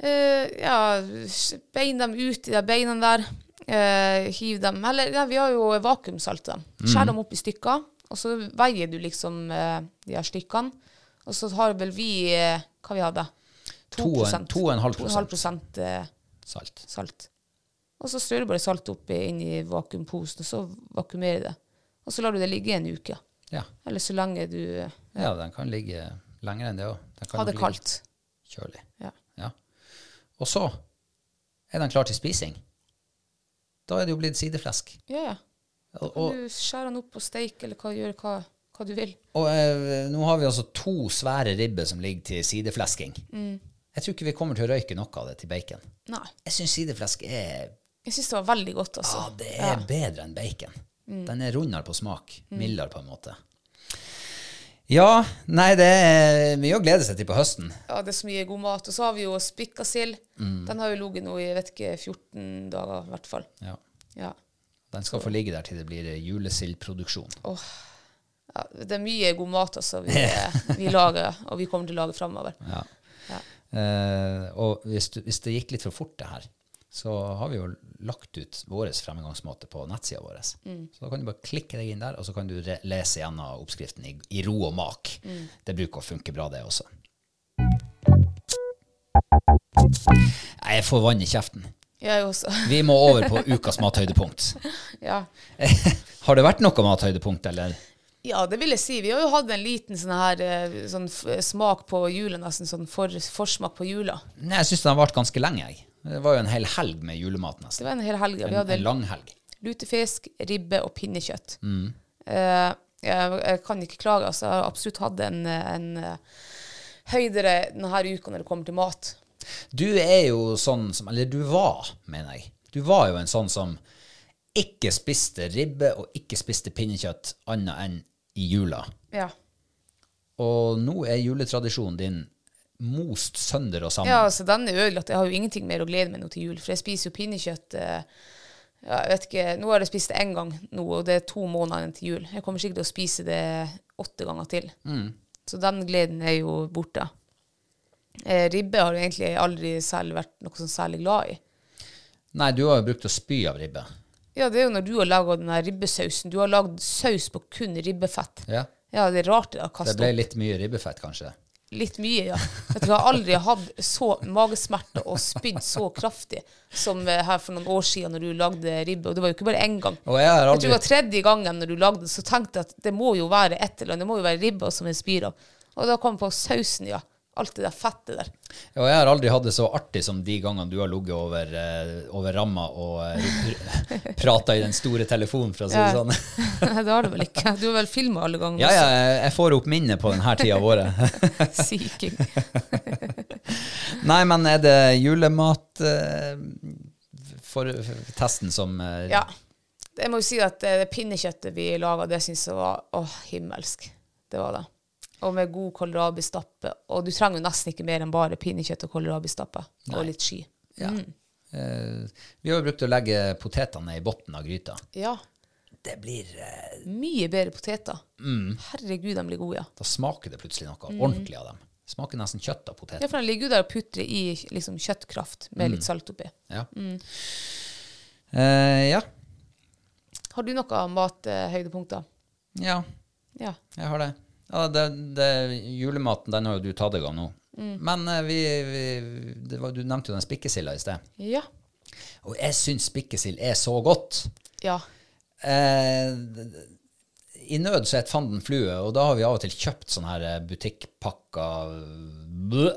Speaker 2: Eh, ja, s- bein dem ut i de beina der. Eh, hiv dem Eller ja, vi har jo vakuumsalt dem.
Speaker 1: Mm.
Speaker 2: Skjær dem opp i stykker, og så veier du liksom eh, de her stykkene. Og så har vel vi eh, Hva vi hadde?
Speaker 1: To og en-
Speaker 2: 2%.
Speaker 1: to og en halv
Speaker 2: 2,5 prosent, eh,
Speaker 1: Salt.
Speaker 2: salt. Og så strør du bare salt oppi inn i vakuumposen, og så vakuumerer du det. Og så lar du det ligge en uke.
Speaker 1: Ja.
Speaker 2: Eller så lenge du eh,
Speaker 1: ja, den kan ligge lenger enn det òg.
Speaker 2: har det kaldt.
Speaker 1: Kjølig.
Speaker 2: Ja.
Speaker 1: Ja. Og så er den klar til spising. Da er det jo blitt sideflesk.
Speaker 2: ja, ja.
Speaker 1: Og, og,
Speaker 2: Kan du skjære den opp og steike, eller hva, gjør hva, hva du vil.
Speaker 1: og eh, nå har vi altså to svære ribber som ligger til sideflesking.
Speaker 2: Mm.
Speaker 1: Jeg tror ikke vi kommer til å røyke noe av det til bacon.
Speaker 2: Nei.
Speaker 1: Jeg syns sideflesk er
Speaker 2: Jeg syns det var veldig godt, altså.
Speaker 1: Ja, det er bedre enn bacon. Den er rundere på smak, mildere på en måte. Ja, nei, det er mye å glede seg til på høsten.
Speaker 2: Ja, det er så mye god mat. Og så har vi jo spikkasild.
Speaker 1: Mm.
Speaker 2: Den har jo ligget nå i jeg vet ikke, 14 dager, i hvert fall.
Speaker 1: Ja.
Speaker 2: Ja.
Speaker 1: Den skal få ligge der til det blir julesildproduksjon.
Speaker 2: ja. Det er mye god mat altså, vi, vi lager, og vi kommer til å lage framover.
Speaker 1: Ja. Eh, og hvis, du, hvis det gikk litt for fort, det her, så har vi jo lagt ut vår fremgangsmåte på nettsida vår.
Speaker 2: Mm.
Speaker 1: Så da kan du bare klikke deg inn der, og så kan du re- lese gjennom oppskriften i, i ro og mak.
Speaker 2: Mm.
Speaker 1: Det bruker å funke bra, det også. Nei, Jeg får vann i kjeften.
Speaker 2: Jeg også.
Speaker 1: Vi må over på ukas mathøydepunkt.
Speaker 2: Ja.
Speaker 1: Har det vært noe mathøydepunkt, eller?
Speaker 2: ja, det vil jeg si. Vi har jo hatt en liten sånn her eh, sånn f- smak på jula, nesten sånn for, forsmak på jula.
Speaker 1: Nei, jeg syns den har vart ganske lenge, jeg. Det var jo en hel helg med julemat,
Speaker 2: Det
Speaker 1: nesten.
Speaker 2: var en hel helg. og
Speaker 1: En,
Speaker 2: Vi hadde
Speaker 1: en lang helg.
Speaker 2: lutefisk, ribbe og pinnekjøtt. Eh, jeg, jeg kan ikke klage. Altså, jeg har absolutt hatt en, en eh, høydere denne uka når det kommer til mat.
Speaker 1: Du er jo sånn som Eller du var, mener jeg. Du var jo en sånn som ikke spiste ribbe og ikke spiste pinnekjøtt annet enn i jula.
Speaker 2: Ja.
Speaker 1: Og nå er juletradisjonen din most sønder og sammen.
Speaker 2: ja, altså den er ødelagt. Jeg har jo ingenting mer å glede meg nå til jul, for jeg spiser jo pinnekjøtt eh, ja, jeg vet ikke, Nå har jeg spist det én gang nå, og det er to måneder igjen til jul. Jeg kommer sikkert til å spise det åtte ganger til. Så den gleden er jo borte. Eh, ribbe har jeg egentlig aldri selv vært noe sånn særlig glad i.
Speaker 1: Nei, du har jo brukt å spy av ribbe.
Speaker 2: Ja, det er jo når du har laga den her ribbesausen. Du har lagd saus på kun ribbefett.
Speaker 1: Ja.
Speaker 2: Ja, det er rart det har
Speaker 1: Det
Speaker 2: kastet
Speaker 1: ble
Speaker 2: opp.
Speaker 1: litt mye ribbefett, kanskje.
Speaker 2: Litt mye, ja. Vet du, jeg har aldri hatt så magesmerter og spydd så kraftig som eh, her for noen år siden når du lagde ribbe. Og det var jo ikke bare én gang.
Speaker 1: Og jeg har
Speaker 2: Jeg tror det
Speaker 1: aldri
Speaker 2: var tredje gangen når du lagde det, så tenkte jeg at det må jo være et eller annet. Det må jo være ribba som jeg spyr av. Og da kom jeg på sausen, ja. Alt det der fettet der.
Speaker 1: Og jeg har aldri hatt det så artig som de gangene du har ligget over, eh, over ramma og eh, prata i den store telefonen, for å si det
Speaker 2: Ja.
Speaker 1: sånn.
Speaker 2: Nei, det har du vel ikke? Du har vel filma alle gangene?
Speaker 1: Ja, ja, jeg får opp minnet på denne tida av året.
Speaker 2: også? Syking.
Speaker 1: Nei, men er det julemat eh, for, for testen som eh,
Speaker 2: Ja. Jeg må jo si at eh, det pinnekjøttet vi laga, det syns jeg var åh, himmelsk. Det var det. Og med god kålrabistappe. Og du trenger jo nesten ikke mer enn bare pinnekjøtt og kålrabistappe. Og litt sky.
Speaker 1: ja. Eh, Vi har jo brukt å legge potetene i bunnen av gryta.
Speaker 2: Ja.
Speaker 1: Det blir, eh,
Speaker 2: Mye bedre poteter. Herregud, de blir gode, ja.
Speaker 1: Da smaker det plutselig noe ordentlig av dem. Smaker nesten kjøtt av
Speaker 2: Ja,
Speaker 1: potet.
Speaker 2: for de ligger jo der og putrer i liksom, kjøttkraft med litt salt oppi.
Speaker 1: Ja. Eh, ja.
Speaker 2: Har du noe mathøydepunkter?
Speaker 1: ja.
Speaker 2: Ja.
Speaker 1: Jeg har det. Ja, det, det julematen den har jo du tatt deg av nå. Men eh, vi, vi det var, du nevnte jo den spikkesilla i sted.
Speaker 2: Ja.
Speaker 1: Og jeg syns spikkesild er så godt.
Speaker 2: ja.
Speaker 1: Eh, I nød så et fanden flue, og da har vi av og til kjøpt sånne her eh, butikkpakker blø,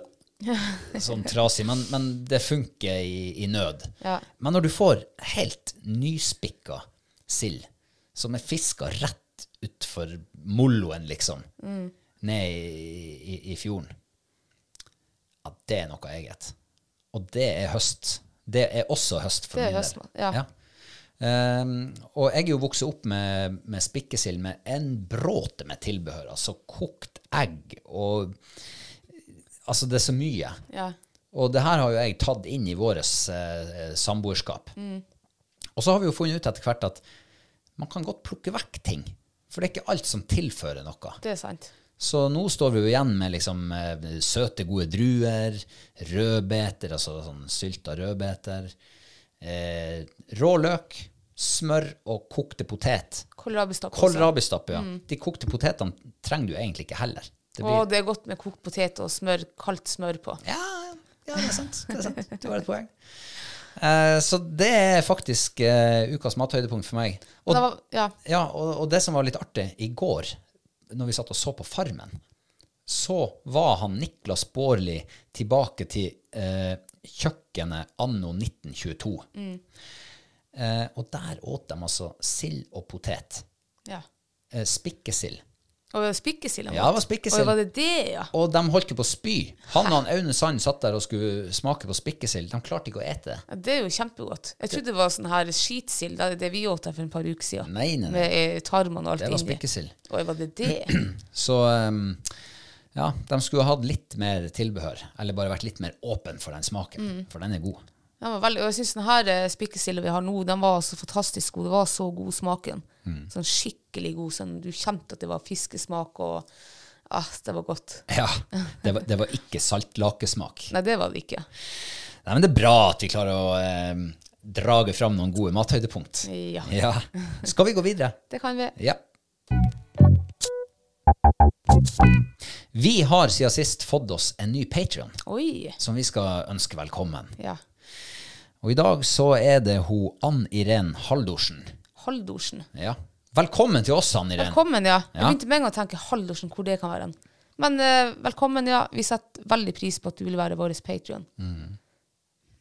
Speaker 1: Sånn trasig, men, men det funker i, i nød.
Speaker 2: Ja.
Speaker 1: Men når du får helt nyspikka sild, som er fiska rett utfor molloen, liksom, ned i, i, i fjorden Ja, det er noe eget. Og det er høst. Det er også høst for
Speaker 2: Det er
Speaker 1: min
Speaker 2: høstmat,
Speaker 1: del.
Speaker 2: ja.
Speaker 1: Ehm, og jeg er jo vokst opp med, med spikkesild med en bråte med tilbehør. Altså kokt egg og Altså, det er så mye.
Speaker 2: ja.
Speaker 1: Og det her har jo jeg tatt inn i vårt eh, samboerskap. Og så har vi jo funnet ut etter hvert at man kan godt plukke vekk ting. For det er ikke alt som tilfører noe.
Speaker 2: Det er sant.
Speaker 1: Så nå står vi jo igjen med liksom eh, søte, gode druer, rødbeter, altså sånn sylta rødbeter, eh, rå løk, smør og kokte potet.
Speaker 2: Kålrabistappe. også.
Speaker 1: Kålrabistappe, ja. De kokte potetene trenger du egentlig ikke heller. Det
Speaker 2: Og
Speaker 1: blir,
Speaker 2: det er godt med kokt potet og smør, kaldt smør på.
Speaker 1: ja, ja, det er sant. Det er sant. Du har et poeng. Eh, så det er faktisk eh, ukas mathøydepunkt for meg. Og
Speaker 2: Det var, ja.
Speaker 1: Ja, og, og det som var litt artig, i går, når vi satt og så på Farmen, så var han Niklas Baarli tilbake til eh, kjøkkenet anno 1922.
Speaker 2: Mm.
Speaker 1: Eh, og der åt de altså sild og potet.
Speaker 2: ja.
Speaker 1: Eh, spikkesild.
Speaker 2: Og spikkesild.
Speaker 1: Ja, det var spikkesild.
Speaker 2: Og var det det, ja?
Speaker 1: Og de holdt jo på å spy. Han og han Aune Sand satt der og skulle smake på spikkesild. De klarte ikke å ete det.
Speaker 2: Ja, Det er jo kjempegodt. Jeg trodde det var sånn her skitsild, det, er det vi åt her for et par uker siden.
Speaker 1: Nei, nei, nei.
Speaker 2: Med eh, tarmene og alt
Speaker 1: Det var
Speaker 2: inni.
Speaker 1: spikkesild.
Speaker 2: Og var det det?
Speaker 1: Så ehm, ja, de skulle ha hatt litt mer tilbehør, eller bare vært litt mer åpen for den smaken, for den er god.
Speaker 2: Den var veldig, og jeg syns den her eh, spikkesilda vi har nå, den var så fantastisk god. Det var så god smaken.
Speaker 1: Mm.
Speaker 2: Sånn skikkelig god. Sånn, du kjente at det var fiskesmak og ah, Det var godt.
Speaker 1: Ja, det var, det var ikke saltlakesmak.
Speaker 2: Nei, det var det ikke.
Speaker 1: Nei, men det er bra at vi klarer å eh, drage fram noen gode mathøydepunkt.
Speaker 2: Ja.
Speaker 1: Ja. Skal vi gå videre?
Speaker 2: Det kan vi.
Speaker 1: Ja. Vi har siden sist fått oss en ny Patrion,
Speaker 2: Oi.
Speaker 1: som vi skal ønske velkommen.
Speaker 2: Ja.
Speaker 1: Og i dag så er det hun Ann Irén Haldorsen.
Speaker 2: Haldorsen.
Speaker 1: Ja. Velkommen til oss, Ann Irén.
Speaker 2: Velkommen, ja. Jeg
Speaker 1: Ja.
Speaker 2: begynte med en gang å tenke Haldorsen, hvor det kan være hen. Men eh, velkommen, ja. Vi setter veldig pris på at du vil være vår Patrion.
Speaker 1: Mm.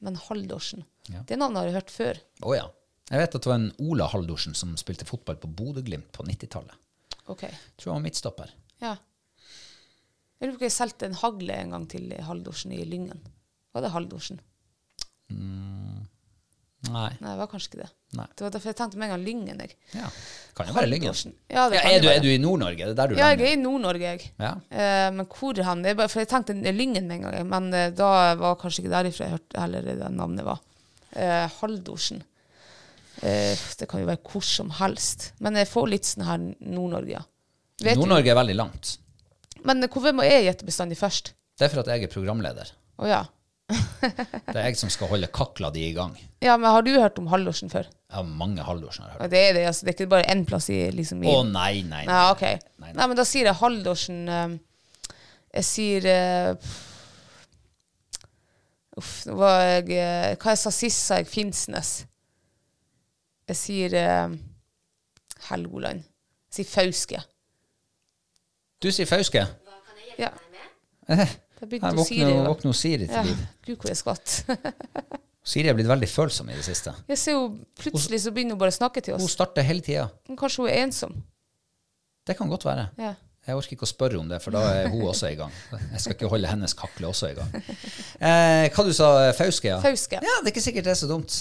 Speaker 2: Men Haldorsen, det navnet har jeg hørt før.
Speaker 1: Å ja. Jeg vet at det var en Ola Haldorsen som spilte fotball på Bodø-Glimt på 90-tallet.
Speaker 2: Ok,
Speaker 1: Tror han var midtstopper.
Speaker 2: ja. Jeg lurer på om jeg solgte en hagle en gang til Haldorsen i Lyngen. Var det Haldorsen?
Speaker 1: Nei.
Speaker 2: Nei, det var kanskje ikke det.
Speaker 1: Nei.
Speaker 2: Det var derfor jeg tenkte med en gang Lyngen. Jeg.
Speaker 1: Ja. Kan jo være Lyngen.
Speaker 2: Haldorsen. Ja, det kan
Speaker 1: er,
Speaker 2: det
Speaker 1: du,
Speaker 2: være.
Speaker 1: er du i Nord-Norge? Er det der du
Speaker 2: Ja,
Speaker 1: lander?
Speaker 2: jeg er i Nord-Norge, jeg.
Speaker 1: Ja.
Speaker 2: Eh, men hvor hen? Det er bare- For jeg tenkte Lyngen med en gang, jeg, men eh, da var kanskje ikke derifra jeg hørte heller det navnet var. Eh, Haldorsen. Eh, det kan jo være hvor som helst. Men jeg får litt sånn her Nord-Norge, ja. Vet du-
Speaker 1: Nord-Norge er veldig langt.
Speaker 2: Men hvorfor må jeg gjette bestandig først?
Speaker 1: Det er for at jeg er programleder.
Speaker 2: Å ja.
Speaker 1: Det er jeg som skal holde kakla di i gang.
Speaker 2: Ja, men har du hørt om Haldorsen før?
Speaker 1: Jeg har mange Haldorsen jeg har hørt.
Speaker 2: Ja, det er det, altså. Det er ikke bare én plass i liksom i
Speaker 1: Å nei, nei.
Speaker 2: Nei, ok.
Speaker 1: Nei,
Speaker 2: Nei,
Speaker 1: nei.
Speaker 2: men da sier jeg Haldorsen eh, Jeg sier eh, Uff, nå var jeg eh, Hva jeg sa sist, sa jeg Finnsnes. Jeg sier eh, Helgoland. Jeg sier Fauske.
Speaker 1: Du sier Fauske.
Speaker 2: Ja. Da
Speaker 1: Eh, Her
Speaker 2: begynte jo Siri.
Speaker 1: våkner
Speaker 2: å-
Speaker 1: våkner Siri til
Speaker 2: Ja,
Speaker 1: liv.
Speaker 2: Gud, hvor jeg skvatt.
Speaker 1: Siri er blitt veldig følsom i det siste.
Speaker 2: Jeg ser jo plutselig så begynner hun bare å snakke til
Speaker 1: Hun
Speaker 2: oss.
Speaker 1: starter hele tida.
Speaker 2: Men Kanskje hun er ensom.
Speaker 1: Det kan godt være.
Speaker 2: Ja.
Speaker 1: Jeg orker ikke å spørre om det, for da er hun også i gang. Jeg skal ikke holde hennes kakle også i gang. Eh, hva du sa Fauske? Ja.
Speaker 2: Fauske.
Speaker 1: Ja, det er ikke sikkert det er så dumt.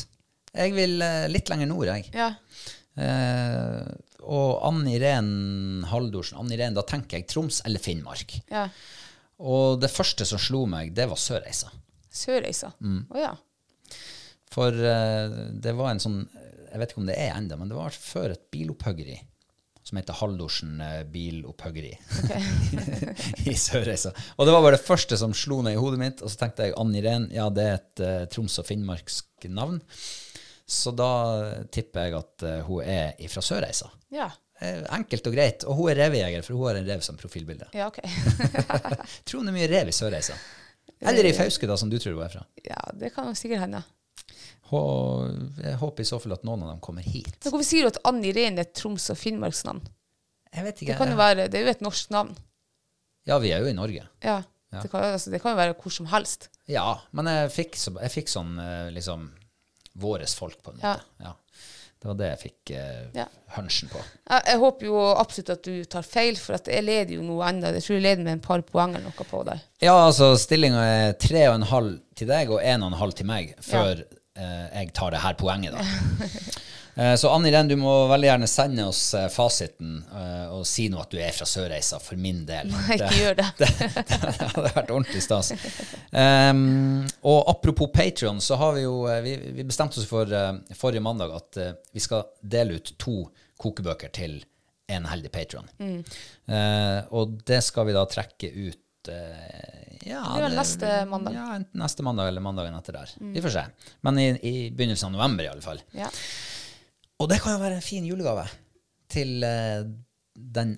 Speaker 1: Jeg vil eh, litt lenger nord, jeg.
Speaker 2: Ja.
Speaker 1: Eh, og Ann Irén Haldorsen, Ann Irén, da tenker jeg Troms eller Finnmark.
Speaker 2: ja.
Speaker 1: Og det første som slo meg, det var Sørreisa.
Speaker 2: Sørreisa. Å
Speaker 1: Mm.
Speaker 2: ja.
Speaker 1: For eh, det var en sånn Jeg vet ikke om det er ennå, men det var før et bilopphuggeri som heter Haldorsen eh, bilopphuggeri i Sørreisa. Og det var bare det første som slo ned i hodet mitt. Og så tenkte jeg Ann Irén, ja, det er et eh, Troms og finnmarksk navn. Så da tipper jeg at eh, hun er fra Sørreisa.
Speaker 2: Ja.
Speaker 1: Eh, Enkelt og greit. Og hun er revejeger, for hun har en rev som profilbilde.
Speaker 2: Ja, OK.
Speaker 1: Tror hun er mye rev i Sørreisa. Eller i Fauske, da, som du tror hun er fra.
Speaker 2: Ja, det kan jo sikkert hende.
Speaker 1: Hå- Jeg håper i så fall at noen av dem kommer hit.
Speaker 2: Men hvorfor sier du at Ann Irén er et Troms- og finnmarksnavn?
Speaker 1: Jeg vet ikke.
Speaker 2: Det kan jo være, det er jo et norsk navn.
Speaker 1: Ja, vi er jo i Norge.
Speaker 2: Ja. Det, kan, altså, det kan jo være hvor som helst.
Speaker 1: Ja, men jeg fikk, så, jeg fikk sånn eh, liksom våres folk, på en måte. Ja. Det var det jeg fikk eh,
Speaker 2: Ja.
Speaker 1: hunchen på.
Speaker 2: Jeg, jeg håper jo absolutt at du tar feil, for at jeg leder jo noe ennå. Jeg tror jeg leder med en par poeng eller noe på deg.
Speaker 1: Ja, altså stillinga er tre og en halv til deg og en og en halv til meg før eh, jeg tar det her poenget, da. Eh, Så Ann Irén, du må veldig gjerne sende oss eh, fasiten eh, og si nå at du er fra Sørreisa, for min del.
Speaker 2: Ikke gjør det.
Speaker 1: det, det hadde vært ordentlig stas. Ehm, og apropos Patrion, så har vi jo eh, Vi, vi bestemte oss for eh, forrige mandag at eh, vi skal dele ut to kokebøker til en heldig Patrion.
Speaker 2: Mm.
Speaker 1: og det skal vi da trekke ut eh, ja,
Speaker 2: Det er vel neste mandag. Mm.
Speaker 1: Ja, enten neste mandag eller mandagen etter der. Vi får se. Men i, i begynnelsen av november, i alle fall.
Speaker 2: Ja.
Speaker 1: Og det kan jo være en fin julegave til eh, den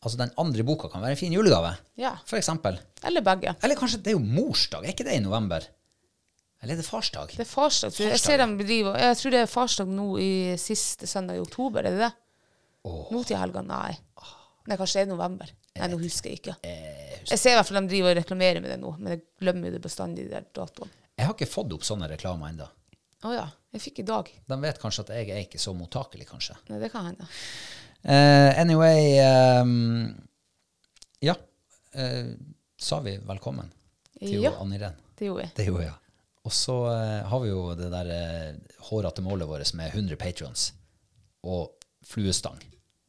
Speaker 1: Altså, den andre boka kan være en fin julegave,
Speaker 2: Ja.
Speaker 1: for eksempel.
Speaker 2: Eller begge.
Speaker 1: Eller kanskje det er jo morsdag, er ikke det i november? Eller er det farsdag?
Speaker 2: Det er farsdag. tror Jeg Jeg ser dem bedriver Jeg tror det er farsdag nå i siste søndag i oktober, er det det? Nå til helga? Nei. Nei, kanskje det er november. Nei, nå husker jeg ikke.
Speaker 1: Eh,
Speaker 2: Jeg ser i hvert fall de driver og reklamerer med det nå, men jeg glemmer jo det bestandig, de der datoene.
Speaker 1: Jeg har ikke fått opp sånne reklamer ennå.
Speaker 2: Å ja. Jeg fikk i dag.
Speaker 1: De vet kanskje at jeg er ikke så mottakelig, kanskje.
Speaker 2: Nei, det kan hende.
Speaker 1: Eh, anyway
Speaker 2: eh,
Speaker 1: ehm, Ja. eh, sa vi velkommen til
Speaker 2: Ja.
Speaker 1: Ann Irén?
Speaker 2: Det gjorde jeg.
Speaker 1: Det gjorde jeg. Og så eh, har vi jo det der eh, hårete målet vårt med 100 patrons og fluestang.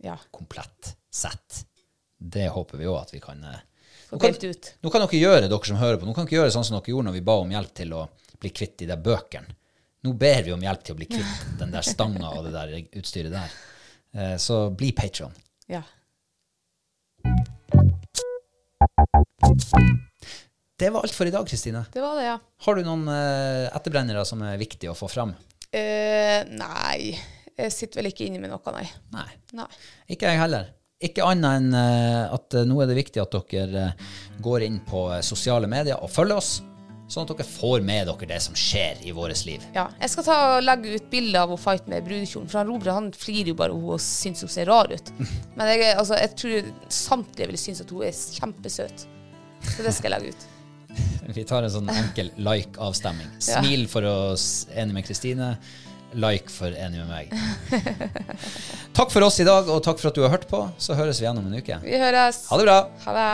Speaker 2: Ja.
Speaker 1: Komplett sett. Det håper vi òg at vi kan eh,
Speaker 2: Få
Speaker 1: nå kan-
Speaker 2: delt ut.
Speaker 1: Nå kan dere gjøre dere som hører på, nå kan dere gjøre sånn som dere gjorde når vi ba om hjelp til å bli kvitt de der bøkene. Nå ber vi om hjelp til å bli kvitt den der stanga og det der utstyret der. Eh, Så bli patron.
Speaker 2: Ja.
Speaker 1: Det var alt for i dag, Kristine.
Speaker 2: Det var det, ja.
Speaker 1: Har du noen eh, etterbrennere som er viktige å få fram?
Speaker 2: Eh, nei, jeg sitter vel ikke inne med noe, nei.
Speaker 1: Nei.
Speaker 2: nei.
Speaker 1: Ikke jeg heller. Ikke annet enn eh, at eh, nå er det viktig at dere eh, går inn på eh, sosiale medier og følger oss, sånn at dere får med dere det som skjer i vårt liv.
Speaker 2: Ja, jeg skal ta og legge ut bilde av å fighte med brudekjolen, for han Robert han flirer jo bare av henne og syns hun ser rar ut. Men jeg, er- altså, jeg tror samtlige vil synes at hun er kjempesøt. Så det skal jeg legge ut.
Speaker 1: Vi tar en sånn enkel like-avstemming. Smil for å s- enig med Kristine, like for enig med meg. Takk for oss i dag, og takk for at du har hørt på. Så høres vi igjen om en uke.
Speaker 2: Vi høres.
Speaker 1: Ha det bra!
Speaker 2: Ha det.